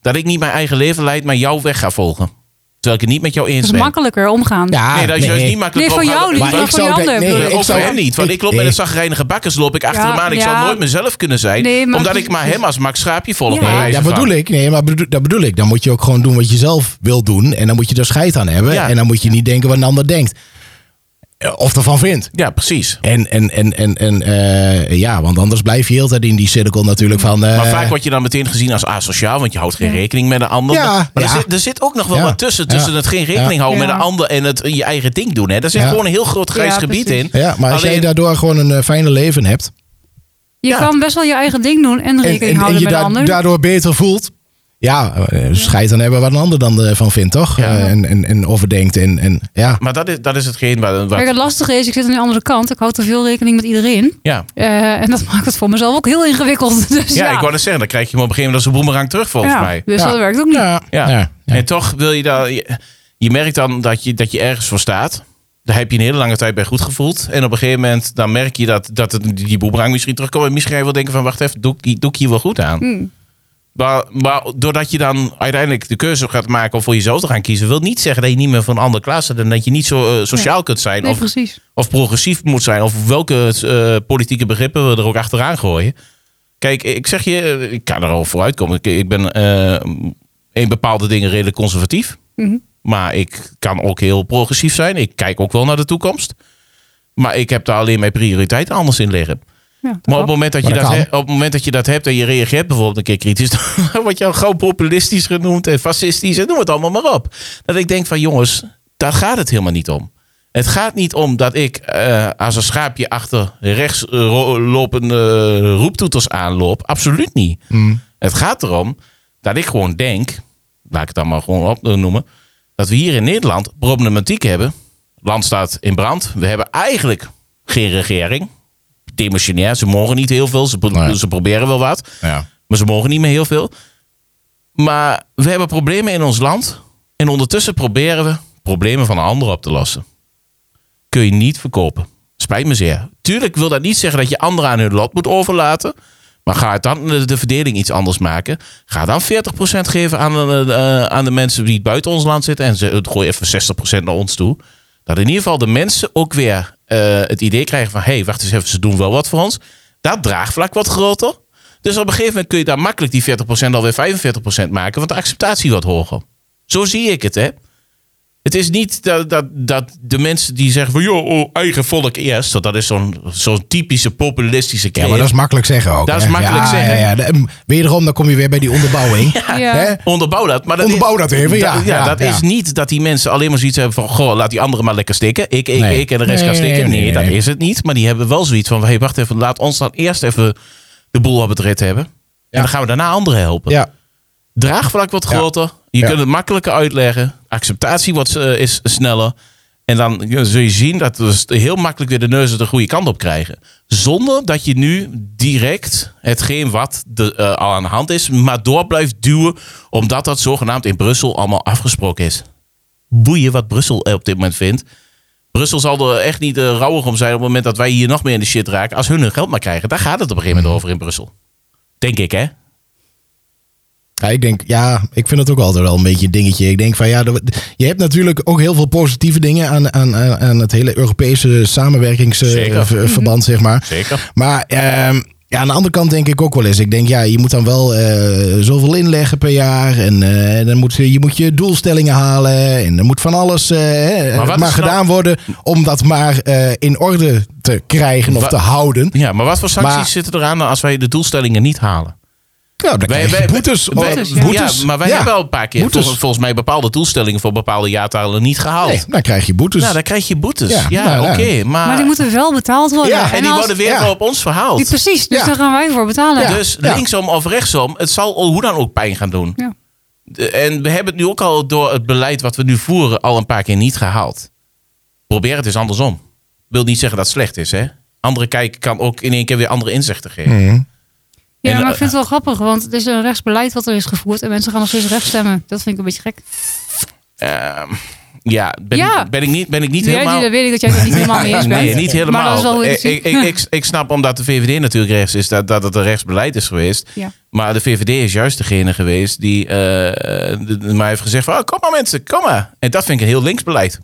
S3: dat ik niet mijn eigen leven leid, maar jouw weg ga volgen? Terwijl ik het niet met jou
S1: Dat
S3: eens
S1: is
S3: ben.
S1: makkelijker omgaan.
S2: ja,
S3: nee, dat is juist niet makkelijk.
S1: Nee, voor
S3: omgaan.
S1: jou niet,
S3: Maar
S1: maar
S3: ik
S1: voor jou
S2: denken-
S1: leuk.
S2: Ah, nee,
S1: Nee,
S3: ook
S2: ik zou
S3: voor hem
S2: denken-
S3: niet. Want ik, loop met een
S2: nee.
S3: zagrijnige bakkers loop ik achter
S1: Ja,
S3: hem aan. Ik zal
S1: ja.
S3: nooit mezelf kunnen zijn.
S1: Nee, maar
S3: omdat
S1: precies-
S3: ik maar hem als Max Schaapje volg.
S1: Ja.
S3: bij
S2: Nee,
S3: wijze
S2: dat
S3: van.
S2: bedoel ik. Nee, maar bedoel, dat bedoel ik. Dan moet je ook gewoon doen wat je zelf wil doen. En dan moet je er scheid aan hebben.
S3: Ja.
S2: En dan moet je niet denken wat een ander denkt. eh, of ervan vindt.
S3: Ja, precies.
S2: En, en, en, en, en eh, ja, want anders blijf je heel de tijd in die cirkel natuurlijk van... eh,
S3: Maar vaak word je dan meteen gezien als asociaal, want je houdt geen
S1: Ja.
S3: rekening met een ander.
S2: Ja,
S3: maar maar
S2: ja.
S3: Er, zit, er zit ook nog wel
S2: Ja.
S3: wat tussen,
S2: Ja.
S3: tussen het geen rekening
S2: Ja.
S3: houden
S1: Ja.
S3: met een ander en het je eigen ding doen. Hè. Daar zit
S2: Ja.
S3: gewoon een heel groot grijs
S1: Ja,
S3: gebied
S1: precies.
S3: in.
S2: Ja, maar als jij
S3: Alleen-
S2: daardoor gewoon een eh, fijner leven hebt...
S1: Je
S3: Ja.
S1: kan best wel je eigen ding doen en
S2: en,
S1: rekening
S2: en, en
S1: houden
S2: je
S1: met
S2: da-
S1: anderen.
S2: daardoor beter voelt... Ja, eh, scheid aan hebben wat een ander dan ervan vindt, toch?
S3: Ja.
S2: Eh, en, en, en overdenkt en, en ja.
S3: Maar dat is, dat is hetgeen waar... waar-
S1: Kijk, het lastige is, ik zit aan de andere kant. Ik houd te veel rekening met iedereen.
S3: ja.
S1: Eh, en dat maakt het voor mezelf ook heel ingewikkeld. Dus
S3: Ja,
S1: ja,
S3: ik wou net zeggen, dan krijg je hem op een gegeven moment als een boemerang terug volgens
S1: Ja,
S3: mij.
S1: Dus
S2: Ja.
S1: dat werkt ook niet.
S3: Ja.
S2: Ja.
S3: En toch wil je daar... Je, je merkt dan dat je, dat je ergens voor staat. Daar heb je een hele lange tijd bij goed gevoeld. En op een gegeven moment dan merk je dat, dat het, die boemerang misschien terugkomt. En misschien ga je wel denken van, wacht even, doe, ik- doe ik hier wel goed aan?
S1: Mm.
S3: Maar, maar doordat je dan uiteindelijk de keuze gaat maken om voor jezelf te gaan kiezen, wil niet zeggen dat je niet meer van een andere klasse bent. En dat je niet zo eh, sociaal kunt zijn.
S1: Nee,
S3: of,
S1: precies.
S3: of progressief moet zijn. Of welke eh, politieke begrippen we er ook achteraan gooien. Kijk, ik zeg je, eh, ik kan er al vooruit komen. Ik, ik ben eh, in bepaalde dingen redelijk conservatief.
S1: Mhm.
S3: Maar ik kan ook heel progressief zijn. Ik kijk ook wel naar de toekomst. Maar ik heb daar alleen mijn prioriteiten anders in liggen.
S1: Ja, dat wel.
S3: Maar op het, moment dat je
S2: Maar
S3: dat
S2: dat
S3: he- op het moment dat je dat hebt en je reageert bijvoorbeeld een keer kritisch, dan word je al gauw populistisch genoemd en fascistisch en noem het allemaal maar op. Dat ik denk van jongens, daar gaat het helemaal niet om. Het gaat niet om dat ik eh, als een schaapje achter rechts eh, ro- lopende eh, roeptoeters aanloop. Absoluut niet.
S2: Mm.
S3: Het gaat erom dat ik gewoon denk, laat ik het dan maar gewoon opnoemen, dat we hier in Nederland problematiek hebben. Land staat in brand. We hebben eigenlijk geen regering. Demissionair, ze mogen niet heel veel. Ze, pro-
S2: Nee.
S3: ze proberen wel wat,
S2: Ja.
S3: maar ze mogen niet meer heel veel. Maar we hebben problemen in ons land. En ondertussen proberen we problemen van anderen op te lossen. Kun je niet verkopen. Spijt me zeer. Tuurlijk wil dat niet zeggen dat je anderen aan hun lot moet overlaten. Maar ga het dan de de verdeling iets anders maken. Ga dan 40% geven aan de, eh, aan de mensen die buiten ons land zitten. En ze, het gooi even 60% naar ons toe. Dat in ieder geval de mensen ook weer eh, het idee krijgen van... hé, hey, wacht eens even, ze doen wel wat voor ons. Dat draagvlak wat groter. Dus op een gegeven moment kun je daar makkelijk die 40% alweer 45% maken. Want de acceptatie wordt hoger. Zo zie ik het, hè. Het is niet dat, dat, dat de mensen die zeggen van... joh, oh, eigen volk eerst. want Dat is zo'n zo'n typische populistische
S2: Ja,
S3: kreet.
S2: maar dat is makkelijk zeggen ook.
S3: Dat is
S2: hè?
S3: makkelijk
S2: ja,
S3: zeggen.
S2: Ja, ja. En Wederom, dan kom je weer bij die onderbouwing.
S1: Ja.
S2: Hè?
S3: Onderbouw dat. Maar dat
S2: Onderbouw
S3: is-
S2: dat even, ja.
S3: Dat,
S2: Ja,
S3: dat
S2: ja.
S3: is niet dat die mensen alleen maar zoiets hebben van... Goh, laat die anderen maar lekker stikken. Ik, ik,
S2: Nee.
S3: ik en de rest
S2: Nee,
S3: gaan stikken. Nee,
S2: nee, nee,
S3: dat
S2: nee.
S3: is het niet. Maar die hebben wel zoiets van... Hey, wacht even, laat ons dan eerst even de boel op het rit hebben. En dan gaan we daarna anderen helpen.
S2: Ja.
S3: Draagvlak wordt
S2: Ja.
S3: groter. Je
S2: Ja.
S3: kunt het makkelijker uitleggen. Acceptatie wordt, eh, is sneller. En dan ja, zul je zien dat we heel makkelijk weer de neuzen de goede kant op krijgen. Zonder dat je nu direct hetgeen wat de, eh, al aan de hand is, maar door blijft duwen. Omdat dat zogenaamd in Brussel allemaal afgesproken is. Boeien wat Brussel eh, op dit moment vindt. Brussel zal er echt niet eh, rouwig om zijn op het moment dat wij hier nog meer in de shit raken. Als hun hun geld maar krijgen. Daar gaat het op een gegeven
S2: Mhm.
S3: moment over in Brussel. Denk ik, hè?
S2: Ja, ik denk, ja, ik vind het ook altijd wel een beetje een dingetje. Ik denk van ja, dat- je hebt natuurlijk ook heel veel positieve dingen aan, aan, aan aan het hele Europese
S3: Zeker.
S2: samenwerkingsverband, zeg maar.
S3: Mhm. Zeker.
S2: Maar ehm, ja, aan de andere kant denk ik ook wel eens. Ik denk, ja, je moet dan wel eh, zoveel inleggen per jaar. En eh, dan moet, je je moet je doelstellingen halen. En er moet van alles eh, hè,
S3: Maar wat
S2: maar,
S3: is nou-
S2: gedaan worden om dat maar eh, in orde te krijgen of
S3: Wa-
S2: te houden.
S3: Ja, maar wat voor sancties
S2: Maar-
S3: zitten eraan als wij de doelstellingen niet halen?
S2: Ja, dan krijg je boetes.
S3: wij-
S2: oh,
S1: boetes, ja.
S2: boetes.
S3: Ja, maar wij
S2: Ja.
S3: hebben al een paar keer
S2: Boetes.
S3: volgens, volgens mij bepaalde doelstellingen voor bepaalde jaartalen niet gehaald.
S2: Nee, dan krijg je boetes.
S3: nou, dan krijg je boetes. Ja,
S2: Ja, nou,
S3: oké.
S2: ja.
S3: maar,
S1: Maar die moeten wel betaald worden.
S2: Ja,
S3: en die
S1: als-
S3: worden weer
S2: ja.
S3: wel op ons verhaald.
S1: die- precies, dus
S2: Ja.
S1: daar gaan wij voor betalen.
S2: Ja.
S3: Dus linksom of rechtsom, het zal hoe dan ook pijn gaan doen.
S1: Ja.
S3: De- En we hebben het nu ook al door het beleid wat we nu voeren al een paar keer niet gehaald. Probeer het eens andersom. Wil niet zeggen dat het slecht is, hè? Andere kijken kan ook in één keer weer andere inzichten geven.
S2: Mhm.
S1: Ja,
S3: En,
S1: maar
S3: eh,
S1: ik vind het wel grappig, want het is een rechtsbeleid wat er is gevoerd en mensen gaan nog steeds rechts stemmen. Dat vind ik een beetje gek.
S3: Ehm, ja, ben,
S1: Ja.
S3: Ik, ben ik niet, ben ik niet
S1: Jij,
S3: helemaal...
S1: die- dat weet ik dat jij het niet helemaal mee eens bent.
S3: Nee, niet helemaal.
S1: Maar dat is wel hoe je het
S3: ik,
S1: ziet.
S3: ik, ik, ik snap omdat de VVD natuurlijk rechts is, dat, dat het een rechtsbeleid is geweest.
S1: Ja.
S3: Maar de VVD is juist degene geweest die eh, de- de- maar heeft gezegd van, oh, kom maar mensen, kom maar. En dat vind ik een heel links beleid.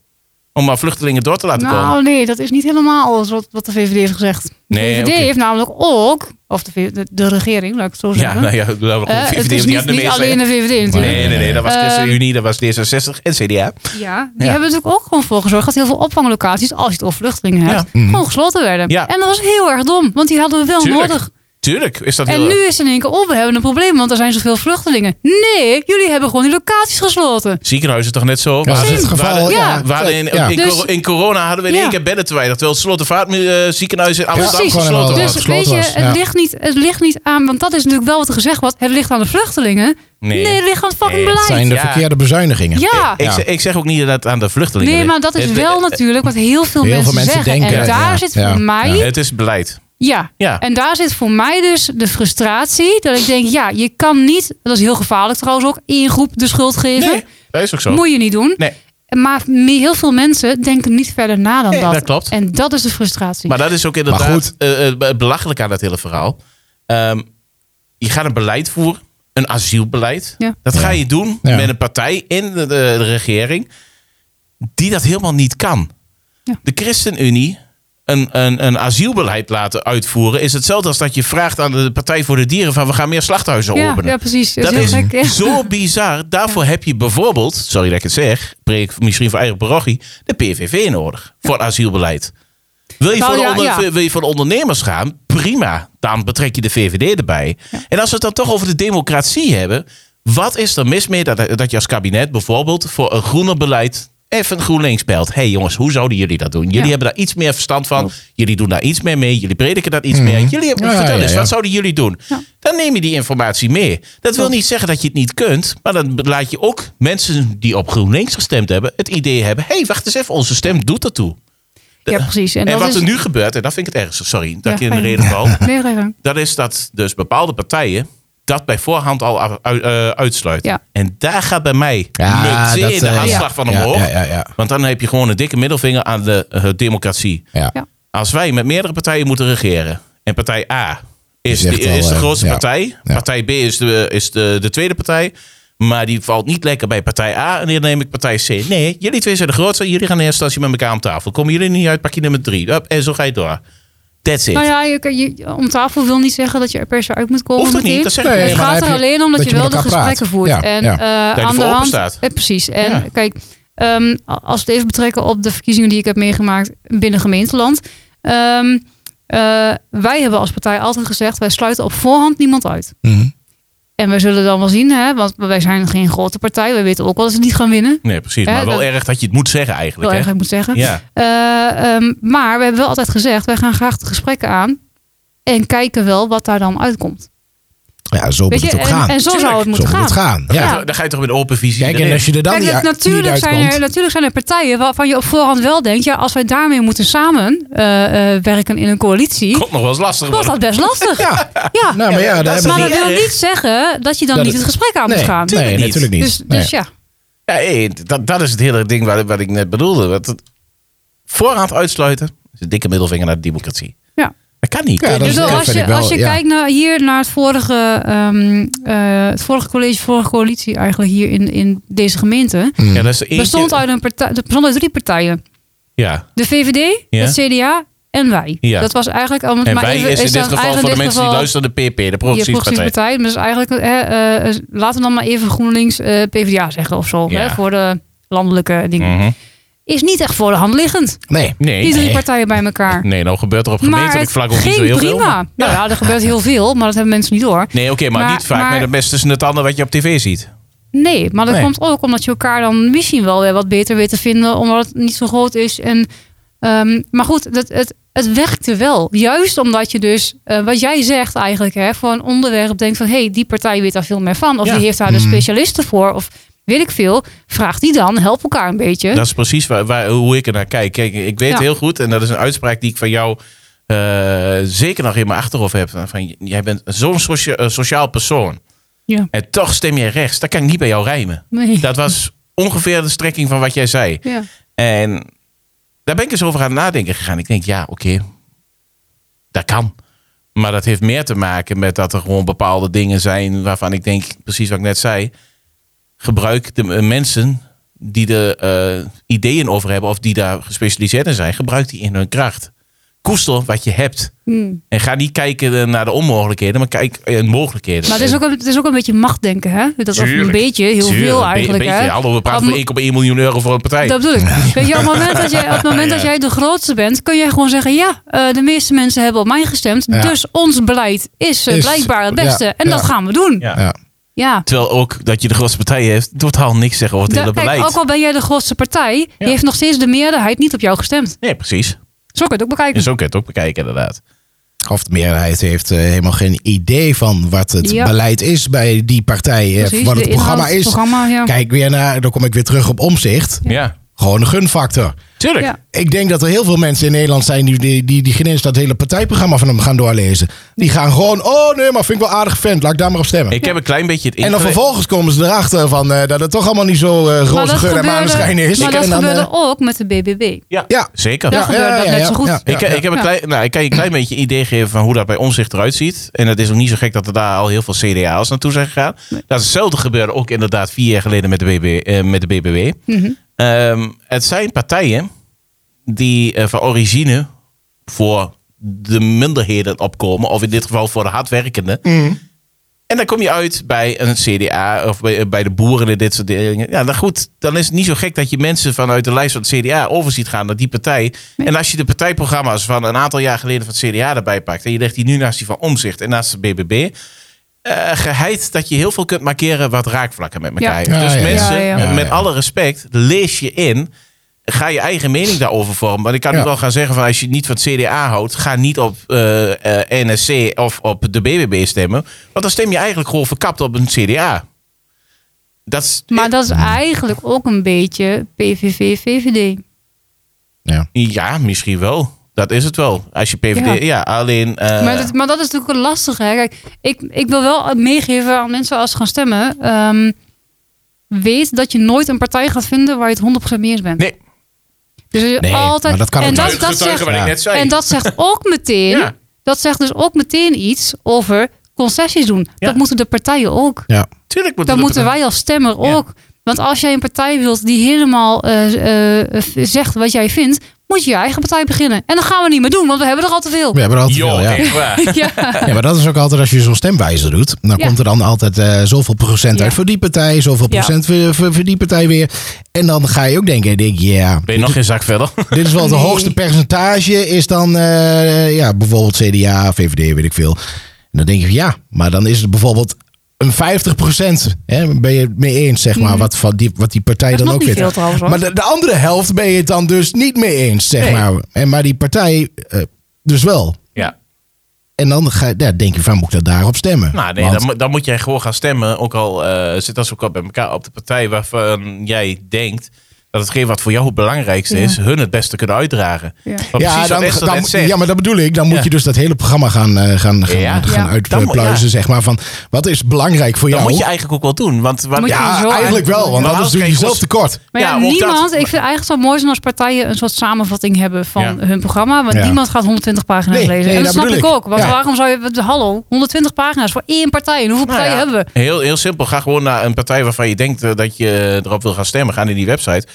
S3: om maar vluchtelingen door te laten komen.
S1: Nou, nee, dat is niet helemaal alles wat, wat de VVD heeft gezegd.
S3: Nee,
S1: de VVD
S3: oké.
S1: heeft namelijk ook, of de, V- de, de regering, laat ik het zo
S3: Ja,
S1: zeggen.
S3: nou ja, dat was
S1: Eh, het is niet, niet alleen de VVD natuurlijk.
S3: Nee, nee, nee, dat was
S1: Eh,
S3: ChristenUnie, dat was D66 en CDA.
S1: Ja, die
S3: Ja.
S1: hebben natuurlijk ook gewoon voor gezorgd dat heel veel opvanglocaties, als je het over vluchtelingen hebt,
S3: Ja.
S2: Mhm.
S1: gewoon gesloten werden.
S3: Ja.
S1: En dat was heel erg dom, want die hadden we wel
S3: Tuurlijk.
S1: nodig.
S3: Tuurlijk is dat
S1: En
S3: heel...
S1: nu is in één keer, oh, we hebben een probleem, want er zijn zoveel vluchtelingen. Nee, jullie hebben gewoon die locaties gesloten.
S3: Ziekenhuizen toch net zo?
S2: Ja, dat is het
S3: We
S2: geval.
S3: hadden-
S1: ja.
S3: we hadden in,
S2: Ja.
S3: in,
S1: Dus-
S3: coro- in corona hadden we in
S1: Ja.
S3: één keer bedden te weinig. Terwijl het Slotervaart eh, ziekenhuis in Amsterdam
S1: Precies.
S3: gesloten
S2: Gewoon
S1: Dus
S2: helemaal
S3: was.
S2: gesloten
S1: weet je,
S2: was,
S1: het,
S2: ja.
S1: ligt niet, het ligt niet aan, want dat is natuurlijk wel wat er gezegd wordt. Het ligt aan de vluchtelingen. Nee, het ligt aan het fucking
S3: Nee,
S1: beleid.
S3: het
S2: zijn de
S3: Ja.
S2: verkeerde bezuinigingen.
S1: Ja.
S3: Ik, zeg, ik zeg ook niet dat het aan de vluchtelingen
S1: Nee,
S3: ligt.
S1: maar dat is
S3: Het-
S1: wel natuurlijk wat heel veel
S2: Heel
S1: mensen,
S2: veel mensen
S1: zeggen.
S2: denken,
S1: en
S2: ja.
S1: daar
S2: Ja.
S1: zit voor
S2: Ja.
S1: mij
S2: Ja.
S3: Het is beleid.
S1: Ja.
S3: Ja.
S1: en daar zit voor mij dus de frustratie. Dat ik denk, ja, je kan niet, dat is heel gevaarlijk trouwens ook, in je groep de schuld geven.
S3: Nee, dat is ook zo.
S1: Moet je niet doen.
S3: Nee.
S1: Maar me- heel veel mensen denken niet verder na dan
S3: Nee,
S1: dat.
S3: dat klopt.
S1: En dat is de frustratie.
S3: Maar dat is ook inderdaad
S2: goed.
S3: eh, eh, belachelijk aan dat hele verhaal. Ehm, je gaat een beleid voeren, een asielbeleid.
S1: Ja.
S3: Dat ga je doen
S2: Ja.
S3: met een partij in de, de- de regering die dat helemaal niet kan.
S1: Ja.
S3: De ChristenUnie een, een, een asielbeleid laten uitvoeren is hetzelfde als dat je vraagt aan de Partij voor de Dieren van we gaan meer slachthuizen
S1: ja,
S3: openen.
S1: ja, precies.
S3: Dat
S1: heel
S3: is
S1: gek, ja.
S3: zo bizar. Daarvoor heb je bijvoorbeeld, sorry dat ik het zeg, preek misschien voor eigen parochie, de PVV nodig voor asielbeleid. Wil je,
S1: Nou
S3: voor de
S1: ja,
S3: onder-
S1: ja.
S3: wil je voor de ondernemers gaan? Prima. Dan betrek je de VVD erbij. En als we het dan toch over de democratie hebben. Wat is er mis mee dat, dat je als kabinet bijvoorbeeld voor een groener beleid even GroenLinks belt? Hé hey jongens, hoe zouden jullie dat doen? Jullie
S1: Ja.
S3: hebben daar iets meer verstand van. Jullie doen daar iets meer mee. Jullie prediken daar
S1: Mhm.
S3: iets meer. Jullie hebben,
S2: Ja,
S3: vertel
S2: ja,
S3: eens,
S2: ja.
S3: wat zouden jullie doen?
S1: Ja.
S3: Dan neem je die informatie mee. Dat wil niet zeggen dat je het niet kunt. Maar dan laat je ook mensen die op GroenLinks gestemd hebben... het idee hebben, hé, hey, wacht eens even, onze stem doet ertoe.
S1: ja, precies. En,
S3: En,
S1: dat
S3: wat
S1: is,
S3: er nu gebeurt, en dat vind ik het ergste, sorry dat
S1: Ja,
S3: ik je in de
S1: ga je
S3: reden val...
S1: Nee, ga je gang.
S3: dat is dat dus bepaalde partijen dat bij voorhand al af- u- eh, uitsluiten.
S1: Ja.
S3: En daar gaat bij mij
S2: Ja,
S3: meteen
S2: dat,
S3: de
S2: eh,
S3: aanslag
S2: ja.
S3: van
S2: Ja,
S3: omhoog.
S2: ja, ja, ja.
S3: Want dan heb je gewoon een dikke middelvinger aan de eh, democratie.
S2: Ja.
S1: Ja.
S3: Als wij met meerdere partijen moeten regeren. En partij A is,
S2: Die
S3: de,
S2: zegt al,
S3: is de
S2: eh,
S3: grootste
S2: ja.
S3: partij.
S2: Ja.
S3: Partij B is, de, is de, de tweede partij. Maar die valt niet lekker bij partij A. En dan neem ik partij C. Nee, jullie twee zijn de grootste. Jullie gaan in eerste instantie met elkaar om tafel. Komen jullie niet uit, pak je nummer drie. Hup, en zo ga je door. That's it.
S1: Nou ja, je, kan- je, om tafel wil niet zeggen dat je er per se uit moet komen.
S3: Hoeft toch niet?
S1: meteen.
S3: Dat zeg ik
S2: Nee,
S3: niet.
S1: Het
S2: maar dan
S1: gaat
S2: heb
S1: er
S2: je-
S1: alleen om dat,
S2: dat
S1: je
S2: je
S1: wel
S2: met
S1: de
S2: elkaar praat.
S1: gesprekken voert.
S2: Ja,
S1: en
S2: ja.
S1: eh,
S3: je
S1: aan de
S3: ervoor
S1: hand.
S3: openstaat.
S1: eh, precies. En
S3: Ja.
S1: kijk, ehm, a- als we het even betrekken op de verkiezingen die ik heb meegemaakt binnen gemeenteland. Ehm, eh, wij hebben als partij altijd gezegd: wij sluiten op voorhand niemand uit.
S2: Mhm.
S1: En wij zullen dan wel zien, hè, want wij zijn geen grote partij. Wij weten ook wel dat ze niet gaan winnen.
S3: Nee, precies.
S1: Hè,
S3: Maar wel
S1: dat-
S3: erg dat je het moet zeggen
S1: Wel
S3: eigenlijk. hè?
S1: erg, ik moet zeggen.
S3: Ja.
S1: Eh, ehm, maar we hebben wel altijd gezegd: wij gaan graag de gesprekken aan. En kijken wel wat daar dan uitkomt.
S2: Ja, zo moet
S1: Weet
S2: het
S1: je,
S2: ook
S1: en,
S2: gaan.
S1: en zo zou het
S2: Zo
S1: moeten
S2: moet
S1: gaan.
S2: het gaan. Ja.
S1: Ja.
S3: Dan ga je toch met open visie.
S2: Kijk, en
S3: erin.
S2: als je er dan
S1: Kijk,
S2: niet,
S1: nat- natuurlijk,
S2: niet
S1: zijn er,
S2: uitkomt-
S1: natuurlijk zijn er partijen waarvan je op voorhand wel denkt... ja, als wij daarmee moeten samen eh, eh, werken in een coalitie...
S3: Komt nog wel eens lastig
S1: wordt dat best lastig.
S2: Ja.
S1: Ja.
S2: Nou, maar ja, daar
S3: is
S2: hebben
S1: maar
S2: we
S1: dat
S3: niet
S1: wil
S3: erg.
S1: niet zeggen dat je dan
S2: Dat
S1: niet
S2: het-
S1: het gesprek aan moet
S2: Nee,
S1: gaan.
S2: nee,
S3: niet.
S2: natuurlijk niet.
S1: Dus,
S2: Nee.
S1: dus ja,
S3: Ja, hé, dat, dat is het hele ding wat, wat ik net bedoelde. Wat, het- voorhand uitsluiten is een dikke middelvinger naar de democratie.
S1: ja.
S3: Dat kan niet.
S2: Ja, dat
S1: Dus
S2: is-
S1: wel,
S2: dat
S1: als
S2: vind
S1: je,
S2: ik wel,
S1: als je
S2: ja.
S1: kijkt naar, hier naar het vorige, ehm, eh, het vorige college, vorige coalitie eigenlijk hier in, in deze gemeente...
S3: Ja, dat is eentje-
S1: bestond uit, een partij, dat bestond uit drie partijen.
S3: Ja,
S1: De VVD,
S3: Ja.
S1: het CDA en wij.
S3: Ja.
S1: Dat was eigenlijk... om het
S3: en
S1: maar
S3: wij
S1: even-
S3: is in
S1: dan
S3: dit geval
S1: eigenlijk
S3: voor de
S1: dit
S3: mensen die
S1: geval-
S3: luisteren de PP, de
S1: Je
S3: progressieve
S1: progressieve
S3: partij.
S1: partij. Dus eigenlijk hè, eh, eh, laten we dan maar even GroenLinks eh, PvdA zeggen of zo.
S3: Ja.
S1: Hè, voor de landelijke dingen.
S3: Mhm.
S1: Is niet echt voor de hand liggend.
S2: Nee.
S1: Die
S3: Nee,
S1: drie
S3: nee.
S1: partijen bij elkaar.
S3: nee, nou gebeurt er op
S1: maar
S3: gemeentelijk
S1: het
S3: vlak ook niet
S1: ging
S3: zo heel veel.
S1: prima.
S3: maar-
S1: Nou ja, er gebeurt heel veel, maar dat hebben mensen niet door.
S3: Nee, oké, maar,
S1: Maar-
S3: niet vaak
S1: maar-
S3: met het beste tussen het ander wat je op tv ziet.
S1: Nee, maar dat
S3: Nee.
S1: komt ook omdat je elkaar dan misschien wel weer wat beter weet te vinden. Omdat het niet zo groot is. En, ehm, maar goed, dat, het, het werkte wel. Juist omdat je dus, eh, wat jij zegt eigenlijk, hè, voor een onderwerp denkt van... hé, hey, die partij weet daar veel meer van. Of
S3: Ja.
S1: die heeft daar de
S3: Mhm.
S1: specialisten voor. Of weet ik veel. Vraag die dan, help elkaar een beetje.
S3: Dat is precies waar, waar- hoe ik er naar kijk. Kijk, ik weet
S1: Ja.
S3: heel goed, en dat is een uitspraak die ik van jou eh, zeker nog in mijn achterhoofd heb. Van, jij bent zo'n socia- eh, sociaal persoon.
S1: ja.
S3: En toch stem jij rechts. Dat kan ik niet bij jou rijmen.
S1: Nee.
S3: Dat was ongeveer de strekking van wat jij zei.
S1: ja.
S3: En daar ben ik eens over aan het nadenken gegaan. Ik denk, ja, oké, dat kan. Maar dat heeft meer te maken met dat er gewoon bepaalde dingen zijn waarvan ik denk, precies wat ik net zei, gebruik de eh, mensen die er eh, ideeën over hebben of die daar gespecialiseerd in zijn, gebruik die in hun kracht. Koester wat je hebt.
S1: Hmm.
S3: En ga niet kijken eh, naar de onmogelijkheden, maar kijk eh, mogelijkheden.
S1: Maar het is, ook, een- het is ook een beetje machtdenken, hè? Dat, of een
S3: Tuurlijk.
S1: beetje, heel
S3: Tuurlijk,
S1: veel
S3: een be-
S1: eigenlijk.
S3: Een beetje,
S1: hè?
S3: hallo, we praten
S1: Om-
S3: over 1,1 miljoen euro voor een partij.
S1: Dat bedoel ik. Weet je, op het moment dat jij, op het moment dat jij de grootste bent, kun jij gewoon zeggen: ja, eh, de meeste mensen hebben op mij gestemd.
S2: Ja.
S1: Dus ons beleid is, eh,
S2: Is-
S1: blijkbaar het beste.
S2: ja,
S1: en dat
S2: ja.
S1: gaan we doen. Ja.
S3: Ja.
S2: Ja.
S3: Terwijl ook dat je de grootste partij heeft, totaal niks zeggen over het
S1: Da-
S3: hele
S1: kijk,
S3: beleid.
S1: ook al ben jij de grootste partij, die heeft nog steeds de meerderheid niet op jou gestemd.
S3: Nee, precies.
S1: Zo kun je het ook
S3: En
S1: bekijken.
S3: zo kun je het ook bekijken, inderdaad.
S2: Of de meerderheid heeft eh, helemaal geen idee van wat het
S1: Ja.
S2: beleid is bij die partij. eh,
S1: Precies,
S2: wat het
S1: de
S2: programma
S1: inhoud, het
S2: is.
S1: programma, ja.
S2: Kijk weer naar, dan kom ik weer terug op omzicht.
S3: Ja,
S2: Gewoon een gunfactor.
S3: tuurlijk.
S1: Ja.
S2: Ik denk dat er heel veel mensen in Nederland zijn die, die, die, die geen eens dat hele partijprogramma van hem gaan doorlezen. Die gaan gewoon, oh nee, maar vind ik wel aardig vent, laat ik daar maar op stemmen.
S3: Ik heb een klein beetje het
S2: en dan
S3: ingewe-
S2: vervolgens komen ze erachter van, eh, dat het toch allemaal niet zo eh
S1: Maar
S2: roze
S1: dat
S2: geur en maneschijn
S1: gebeurde,
S2: is.
S1: maar
S2: en
S1: dat
S2: dan,
S1: gebeurde
S2: eh,
S1: ook met de BBB.
S3: Ja,
S2: Ja.
S3: zeker.
S1: Ja. gebeurde dat net zo goed.
S3: Ik, ik, heb een
S1: Ja.
S3: klein, nou, ik kan je een klein beetje een idee geven van hoe dat bij Omzicht eruit ziet. En het is ook niet zo gek dat er daar al heel veel CDA's naartoe zijn gegaan. Dat is hetzelfde gebeurde ook inderdaad vier jaar geleden met de, BB, eh, met de BBW.
S1: Mhm.
S3: Ehm, het zijn partijen die eh, van origine voor de minderheden opkomen. Of in dit geval voor de hardwerkenden.
S2: Mhm.
S3: En dan kom je uit bij een CDA of bij, bij de boeren en dit soort dingen. Ja, dan goed, dan is het niet zo gek dat je mensen vanuit de lijst van het CDA over ziet gaan naar die partij. En als je de partijprogramma's van een aantal jaar geleden van het CDA erbij pakt en je legt die nu naast die van Omzicht en naast de BBB. eh, geheid dat je heel veel kunt markeren wat raakvlakken met elkaar
S1: Ja.
S3: heeft.
S2: Ja,
S3: dus
S2: ja, ja.
S3: mensen,
S1: Ja,
S2: ja.
S3: met alle respect, lees je in. Ga je eigen mening daarover vormen. Want ik kan nu
S2: Ja.
S3: wel gaan zeggen van als je niet van het CDA houdt, ga niet op eh, eh, NSC of op de BBB stemmen. Want dan stem je eigenlijk gewoon verkapt op een CDA. Dat is,
S1: Maar dat is eigenlijk ook een beetje PVV, VVD.
S2: ja.
S3: Ja, misschien wel. Dat is het wel. Als je PVD... Ja,
S1: Ja.
S3: alleen... eh,
S1: Maar dat, maar dat is natuurlijk wel lastig. Hè? Kijk, ik, ik wil wel meegeven aan mensen als ze gaan stemmen. ehm, weet dat je nooit een partij gaat vinden waar je het 100% mee eens bent.
S3: Nee.
S1: Dus er is
S2: Nee,
S1: altijd,
S2: maar dat kan
S1: en
S2: ook
S1: dat,
S2: niet.
S1: dat
S3: Getuige
S1: zegt,
S3: wat
S2: ja.
S3: ik net zei.
S1: En dat zegt ook meteen.
S3: Ja.
S1: Dat zegt dus ook meteen iets over concessies doen.
S3: Ja.
S1: Dat moeten de partijen ook.
S2: ja.
S3: Tuurlijk moet
S1: Dat
S3: het-
S1: moeten wij als stemmer
S3: Ja.
S1: ook. Want als jij een partij wilt die helemaal eh, eh, zegt wat jij vindt, moet je je eigen partij beginnen. En dat gaan we niet meer doen, want we hebben er al te veel.
S2: We hebben er altijd
S3: Joh,
S2: veel, ja.
S3: echt waar.
S1: ja.
S2: Ja, maar dat is ook altijd als je zo'n stemwijzer doet. Dan
S1: Ja.
S2: komt er dan altijd eh, zoveel procent
S1: Ja.
S2: uit voor die partij. Zoveel
S1: Ja.
S2: procent voor, voor, voor die partij weer. En dan ga je ook denken, denk, je, ja,
S3: Ben je nog geen zak verder?
S2: dit is wel
S1: Nee.
S2: het hoogste percentage. Is dan eh, ja, bijvoorbeeld CDA, VVD, weet ik veel. En dan denk je, ja, maar dan is het bijvoorbeeld een 50 Hè, ben je het mee eens, zeg maar, wat, van die, wat die partij
S1: Mhm. Dat is
S2: dan
S1: nog
S2: ook
S1: niet
S2: vindt.
S1: veel trouwens, hoor.
S2: Maar de, de andere helft ben je het dan dus niet mee eens, zeg
S3: Nee.
S2: maar. En, maar die partij eh, dus wel.
S3: Ja.
S2: En dan ga, ja, denk je van, moet ik dat daarop stemmen?
S3: Nou, nee,
S2: Want-
S3: dan, moet- dan moet jij gewoon gaan stemmen. Ook al eh, zit dat ook al bij elkaar op de partij waarvan jij denkt dat hetgeen wat voor jou het belangrijkste
S1: Ja.
S3: is, hun het beste kunnen uitdragen.
S1: Ja.
S3: Want precies wat Esther net zegt.
S2: ja, maar dat bedoel ik. Dan moet
S3: Ja.
S2: je dus dat hele programma gaan, eh, gaan, gaan,
S3: Ja.
S1: Ja.
S2: gaan
S3: Dan moet-
S2: uitpluizen,
S3: ja.
S2: zeg maar. Van, wat is belangrijk voor
S3: dat
S2: jou?
S3: moet je eigenlijk ook wel doen. Want, want-
S1: Moet je
S2: ja,
S1: sowieso
S2: eigenlijk wel, want
S3: Maar
S2: anders
S3: als
S2: doe je
S3: kijk,
S2: jezelf
S3: als-
S2: tekort.
S1: Maar ja,
S3: Ja, of dat-
S1: niemand, ik vind eigenlijk het zou mooi zijn als partijen een soort samenvatting hebben van
S3: Ja.
S1: hun programma. Want
S2: Ja.
S1: niemand gaat 120 pagina's
S2: Nee,
S1: lezen. en
S2: nee,
S1: dat
S2: dat
S1: snap ik
S2: bedoel ik.
S1: ook. Want
S2: Ja.
S1: waarom zou je, hallo, 120 pagina's voor één partij. En hoeveel
S3: Nou
S1: partijen
S3: ja,
S1: hebben we?
S3: Heel, heel simpel. Ga gewoon naar een partij waarvan je denkt eh, dat je erop wil gaan stemmen. Ga naar die website.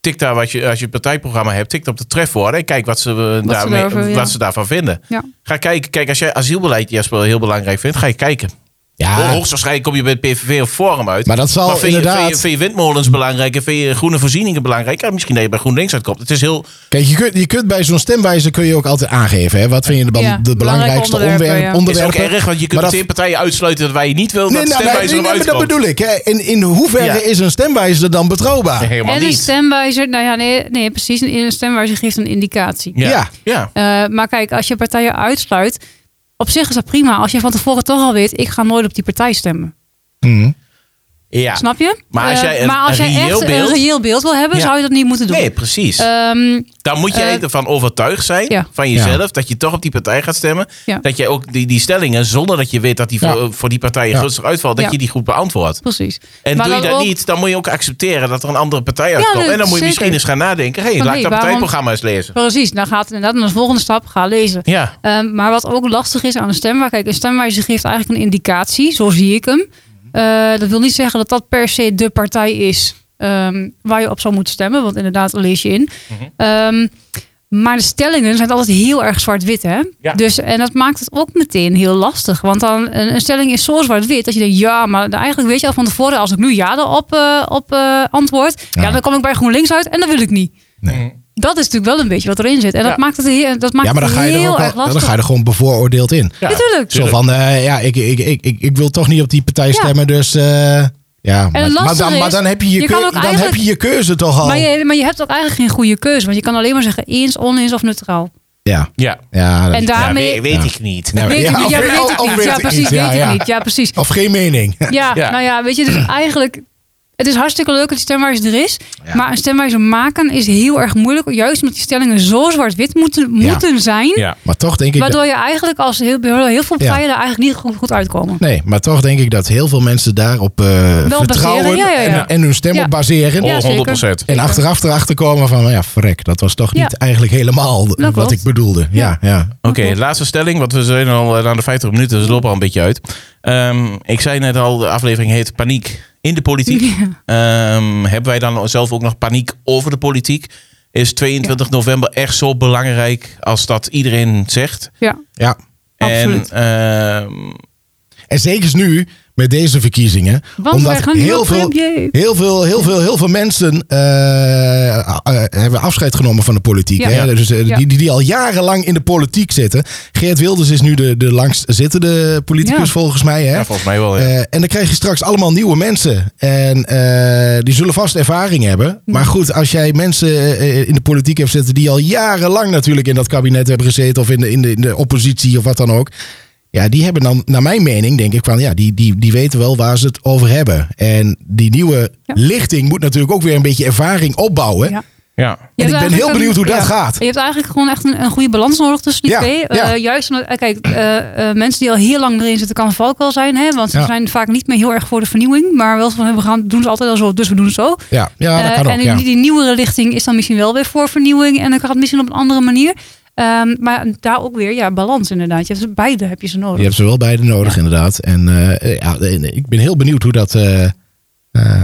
S3: Tik daar wat je, als je een partijprogramma hebt, tik op de trefwoorden en kijk wat ze, eh, daarmee-
S1: daarover, ja.
S3: wat ze daarvan vinden.
S1: Ja.
S3: Ga kijken. Kijk, als jij asielbeleid Jasper heel belangrijk vindt, ga je kijken. Ho-
S2: Ja,
S3: Hoogstwaarschijnlijk kom je bij het PVV of Forum uit.
S2: Ah. Maar dat zal
S3: vind je-
S2: inderdaad-
S3: Vind je, vind je windmolens belangrijk en vind je groene voorzieningen belangrijk? Ja, misschien dat je bij GroenLinks uitkomt. Het is heel...
S2: kijk, je kunt, je kunt bij zo'n stemwijzer kun je ook altijd aangeven. Hè? Wat vind je de, bel-
S1: Ja,
S2: de belangrijkste
S1: belangrijke onderwerpen, ja.
S2: onderwerpen?
S3: is ook
S2: onderwerpen?
S3: erg, want je kunt
S2: Maar dat-
S3: meteen partijen uitsluiten dat wij niet willen
S2: Nee,
S3: dat
S2: nou, nee,
S3: stemwijzer
S2: nee,
S3: nee,
S2: nee, maar dat
S3: uitkomt.
S2: bedoel ik. Hè? In, in hoeverre
S3: Ja.
S2: is een stemwijzer dan betrouwbaar?
S3: Nee, helemaal
S1: En een
S3: niet.
S1: stemwijzer, nou ja, nee, nee precies. Een een stemwijzer geeft een indicatie.
S2: Ja.
S3: Ja. ja.
S1: Eh, maar kijk, als je partijen uitsluit, op zich is dat prima. Als je van tevoren toch al weet, ik ga nooit op die partij stemmen.
S2: Hm.
S3: ja.
S1: Snap je?
S3: Maar als
S1: Eh,
S3: jij een-
S1: maar als
S3: een
S1: jij echt
S3: reëel beeld-
S1: een reëel beeld wil hebben,
S3: Ja.
S1: zou je dat niet moeten doen.
S3: Nee, precies.
S1: Ehm,
S3: Dan moet jij
S1: Eh,
S3: ervan overtuigd zijn
S1: ja.
S3: van jezelf dat je toch op die partij gaat stemmen.
S1: Ja.
S3: Dat jij ook die, die stellingen, zonder dat je weet dat die
S2: Ja.
S3: voor, voor die partijen
S2: Ja.
S3: gunstig uitvalt, dat
S1: Ja.
S3: je die goed beantwoordt.
S1: precies.
S3: En
S1: Maar
S3: doe je
S1: dan
S3: dat
S1: ook-
S3: niet, dan moet je ook accepteren dat er een andere partij
S1: dat
S3: uitkomt. en dan moet je
S1: zeker.
S3: misschien eens gaan nadenken. Hé, hey,
S1: Van,
S3: laat
S1: hey,
S3: ik dat
S1: waarom-
S3: partijprogramma eens lezen.
S1: Precies, dan gaat het inderdaad naar de volgende stap, ga lezen.
S3: Ja,
S1: Ehm, maar wat ook lastig is aan een stemwijzer, kijk, een stemwijzer geeft eigenlijk een indicatie, zo zie ik hem. Eh, dat wil niet zeggen dat dat per se de partij is. ehm, waar je op zou moeten stemmen. Want inderdaad, daar lees je in.
S3: Mhm.
S1: Ehm, maar de stellingen zijn altijd heel erg zwart-wit. Hè?
S3: Ja.
S1: Dus, en dat maakt het ook meteen heel lastig. Want dan, een, een stelling is zo zwart-wit dat je denkt, ja, maar dan eigenlijk weet je al van tevoren, als ik nu ja erop eh, op, eh, antwoord, ja.
S2: Ja.
S1: dan kom ik bij GroenLinks uit en dat wil ik niet.
S3: Nee.
S1: Dat is natuurlijk wel een beetje wat erin zit. En dat
S3: Mhm. Ja.
S1: maakt het, heel- dat maakt
S2: Ja, maar dan
S1: het
S2: ga, je er
S1: heel
S2: ook
S1: erg
S2: al,
S1: lastig.
S2: dan ga je er gewoon bevooroordeeld in.
S3: Ja.
S1: Natuurlijk.
S2: Zo van, eh, ja, ik, ik, ik, ik, ik wil toch niet op die partij stemmen, dus... eh, ja, maar,
S1: lastige
S2: maar, dan, maar
S1: is,
S2: dan heb je je,
S1: je kan
S2: keu-
S1: ook
S2: dan heb
S1: eigenlijk-
S2: je je keuze toch al.
S1: Maar je, maar je hebt ook eigenlijk geen goede keuze. Want je kan alleen maar zeggen eens, oneens of neutraal.
S2: Ja,
S3: Ja.
S2: ja. dat-
S1: En daarmee...
S3: Ja, we- weet
S2: Ja.
S3: ik niet.
S2: Nee, maar-
S1: weet ik
S2: Oh, ja,
S1: niet, ja,
S2: of-
S1: weet ik
S2: of- of
S1: niet.
S2: weet
S1: Ja,
S2: ik
S1: precies.
S2: niet. Ja,
S1: Weet ik
S2: ja.
S1: niet. Ja, precies.
S2: Of geen mening.
S1: Ja,
S3: Ja.
S1: nou ja, weet je, dus eigenlijk... Het is hartstikke leuk dat die stemwijze er is.
S2: Ja.
S1: Maar een stemwijze maken is heel erg moeilijk. Juist omdat die stellingen zo zwart-wit moeten,
S2: Ja.
S1: moeten zijn.
S3: Ja.
S2: Maar toch denk ik... dat-
S1: Waardoor je eigenlijk als heel, heel veel partijen er eigenlijk niet goed, goed uitkomen.
S2: Nee, maar toch denk ik dat heel veel mensen daarop eh, vertrouwen
S1: baseren, ja, ja, ja.
S2: En, en hun stem
S1: Ja.
S2: op baseren.
S1: Ja, zeker.
S3: 100%.
S2: En achteraf erachter komen van, nou ja, vrek, dat was toch
S1: Ja.
S2: niet eigenlijk helemaal wat
S1: klopt.
S2: ik bedoelde. Ja, ja.
S3: Oké, laatste stelling, want we zijn al eh, aan de 50 minuten, dus we lopen al een beetje uit. Ehm, ik zei net al, de aflevering heet Paniek in de politiek. Ehm, hebben wij dan zelf ook nog paniek over de politiek? Is 22 november echt zo belangrijk als dat iedereen zegt?
S1: Ja,
S2: ja.
S1: Absoluut.
S3: En, ehm,
S2: En zeker nu met deze verkiezingen.
S1: Want wij
S2: omdat
S1: gaan nu
S2: heel
S1: op
S2: veel,
S1: premier.
S2: heel veel, heel veel, heel veel mensen eh, eh, hebben afscheid genomen van de politiek.
S1: Ja.
S2: Hè? Dus, eh,
S1: Ja.
S2: die, die, die al jarenlang in de politiek zitten. Geert Wilders is nu de, de langst zittende politicus
S1: Ja.
S2: volgens mij. Hè?
S3: ja, volgens mij wel. Oh, ja.
S2: Eh, en dan krijg je straks allemaal nieuwe mensen. En eh, die zullen vast ervaring hebben. Maar goed, als jij mensen eh, in de politiek hebt zitten die al jarenlang natuurlijk in dat kabinet hebben gezeten of in de, in de, in de oppositie of wat dan ook. Ja, die hebben dan, naar mijn mening, denk ik van ja, die, die, die weten wel waar ze het over hebben. En die nieuwe
S1: Ja.
S2: lichting moet natuurlijk ook weer een beetje ervaring opbouwen.
S1: ja.
S3: ja.
S1: Je
S2: En
S1: hebt
S2: ik ben
S1: eigenlijk
S2: heel
S1: een-
S2: benieuwd hoe dat
S1: ja.
S2: gaat.
S1: Je hebt eigenlijk gewoon echt een, een goede balans nodig tussen die
S2: Ja,
S1: twee. Eh,
S2: ja.
S1: juist omdat, eh, kijk, eh, eh, mensen die al heel lang erin zitten, kan valk wel zijn. Hè? Want ze
S2: Ja.
S1: zijn vaak niet meer heel erg voor de vernieuwing. Maar wel van, we gaan, doen ze altijd al zo, dus we doen het zo.
S2: Ja, ja Ah, dat
S1: Eh,
S2: kan ook.
S1: en
S2: ja.
S1: die, die nieuwere lichting is dan misschien wel weer voor vernieuwing. En dan gaat het misschien op een andere manier. Ehm, maar daar ook weer, ja, balans inderdaad. Je hebt ze, beide heb je ze nodig.
S2: Je hebt ze wel beide nodig, inderdaad. En eh, ja, en ik ben heel benieuwd hoe dat, eh, eh,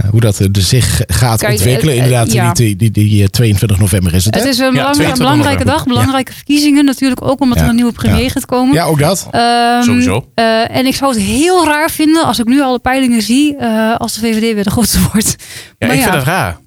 S2: hoe dat eh, zich gaat
S1: Kijk,
S2: ontwikkelen.
S1: eh, eh,
S2: Inderdaad,
S1: ja.
S2: die, die, die, eh, 22 november is het, hè?
S1: Het is een, belang-
S3: 22
S1: een belangrijke
S3: november.
S1: dag, belangrijke verkiezingen natuurlijk. Ook omdat
S2: Ja,
S1: er een nieuwe premier
S2: ja.
S1: gaat komen.
S2: Ja, ook dat.
S1: Ehm,
S3: Sowieso.
S1: eh, en ik zou het heel raar vinden als ik nu alle peilingen zie. eh, als de VVD weer de grootste wordt.
S3: Ja,
S1: maar
S3: ik
S1: ja,
S3: vind dat raar.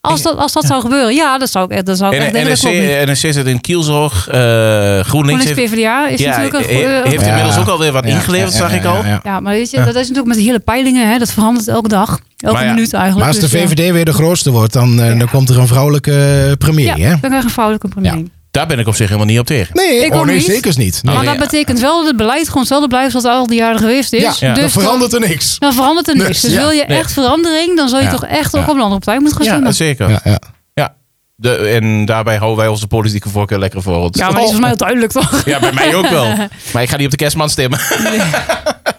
S1: als dat, als dat zou gebeuren, ja, dat zou ik echt, dat zou ik echt
S3: En eh,
S1: denken. dat klopt niet.
S3: NSC zit in Kielzorg, eh, GroenLinks
S1: GroenLinks
S3: heeft,
S1: PvdA is
S3: ja,
S1: natuurlijk een
S3: he-
S1: goe-
S3: heeft
S2: Ja.
S3: inmiddels ook alweer wat
S2: Ja,
S3: ingeleverd,
S2: ja,
S3: zag
S2: ja,
S3: ik
S2: ja,
S3: al.
S2: ja.
S1: Ja, maar weet je, dat is natuurlijk met de hele peilingen. Hè, dat verandert elke dag. Elke
S3: Maar ja,
S1: minuut
S2: Maar
S1: eigenlijk.
S2: als de
S1: Dus, ja.
S2: VVD weer de grootste wordt, dan, eh, dan komt er een vrouwelijke eh, premier,
S1: Ja,
S2: hè?
S1: dan krijg je een vrouwelijke premier.
S2: Ja.
S3: Daar ben ik op zich helemaal niet op tegen.
S2: Nee,
S1: Ik
S2: oh,
S1: ook
S2: nee
S1: niet.
S2: zeker niet. Nee.
S1: Maar
S3: Oh,
S1: dat
S3: ja.
S1: betekent wel dat het beleid gewoon hetzelfde blijft als het al die jaren geweest is.
S2: Ja,
S1: dus
S2: dan verandert er niks.
S1: dan, dan verandert er niks.
S2: Dus,
S1: Dus,
S2: ja,
S1: wil je
S3: nee.
S1: echt verandering, dan zou je
S2: Ja,
S1: toch echt
S2: ja.
S1: ook op een andere partij moeten gaan
S3: Ja,
S1: stemmen.
S3: zeker.
S2: Ja, ja.
S3: Ja, de, en daarbij houden wij onze politieke voorkeur lekker voor ons. Oh.
S1: Ja, maar
S2: Oh.
S1: die is volgens mij wel duidelijk toch?
S3: Ja, bij mij ook wel. Maar ik ga niet op de kerstman stemmen.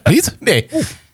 S2: Niet?
S3: Nee.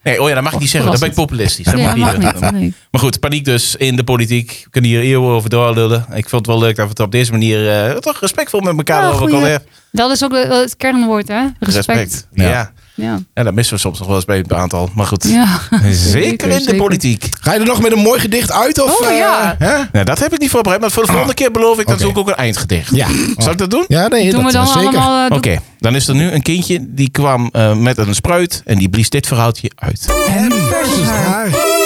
S3: Nee, oh ja, dat mag ik niet zeggen. Dan ben ik populistisch. Dat
S1: Nee,
S3: mag
S1: dat
S3: niet.
S1: mag niet.
S3: Dat mag-
S1: Nee.
S3: Maar goed, paniek dus in de politiek. We kunnen hier eeuwen over doorlullen. Ik vond het wel leuk dat we het op deze manier eh, toch respectvol met elkaar
S1: Ja,
S3: over
S1: goeie-
S3: elkaar hebben.
S1: Dat is ook wel het kernwoord, hè? Respect.
S3: Ja.
S2: Ja.
S3: Ja.
S1: Ja.
S3: dat missen we soms nog wel eens bij een aantal. Maar goed,
S1: ja.
S3: zeker in de
S1: zeker.
S3: politiek.
S2: Ga je er nog met een mooi gedicht uit? Of,
S1: Oh,
S2: eh,
S1: ja.
S2: hè?
S3: Nou, dat heb ik niet voorbereid, maar voor de volgende keer beloof ik dat
S2: Oké.
S3: zoek ik ook een eindgedicht.
S2: Ja.
S3: Zal ik dat doen?
S2: Ja, nee,
S1: Doen
S2: dat
S1: we dan
S2: eh, zeker.
S1: allemaal... eh,
S3: Oké,
S1: doe-
S3: dan is er nu een kindje die kwam eh, met een spruit en die blies dit verhaaltje uit.
S2: Hem versus haar.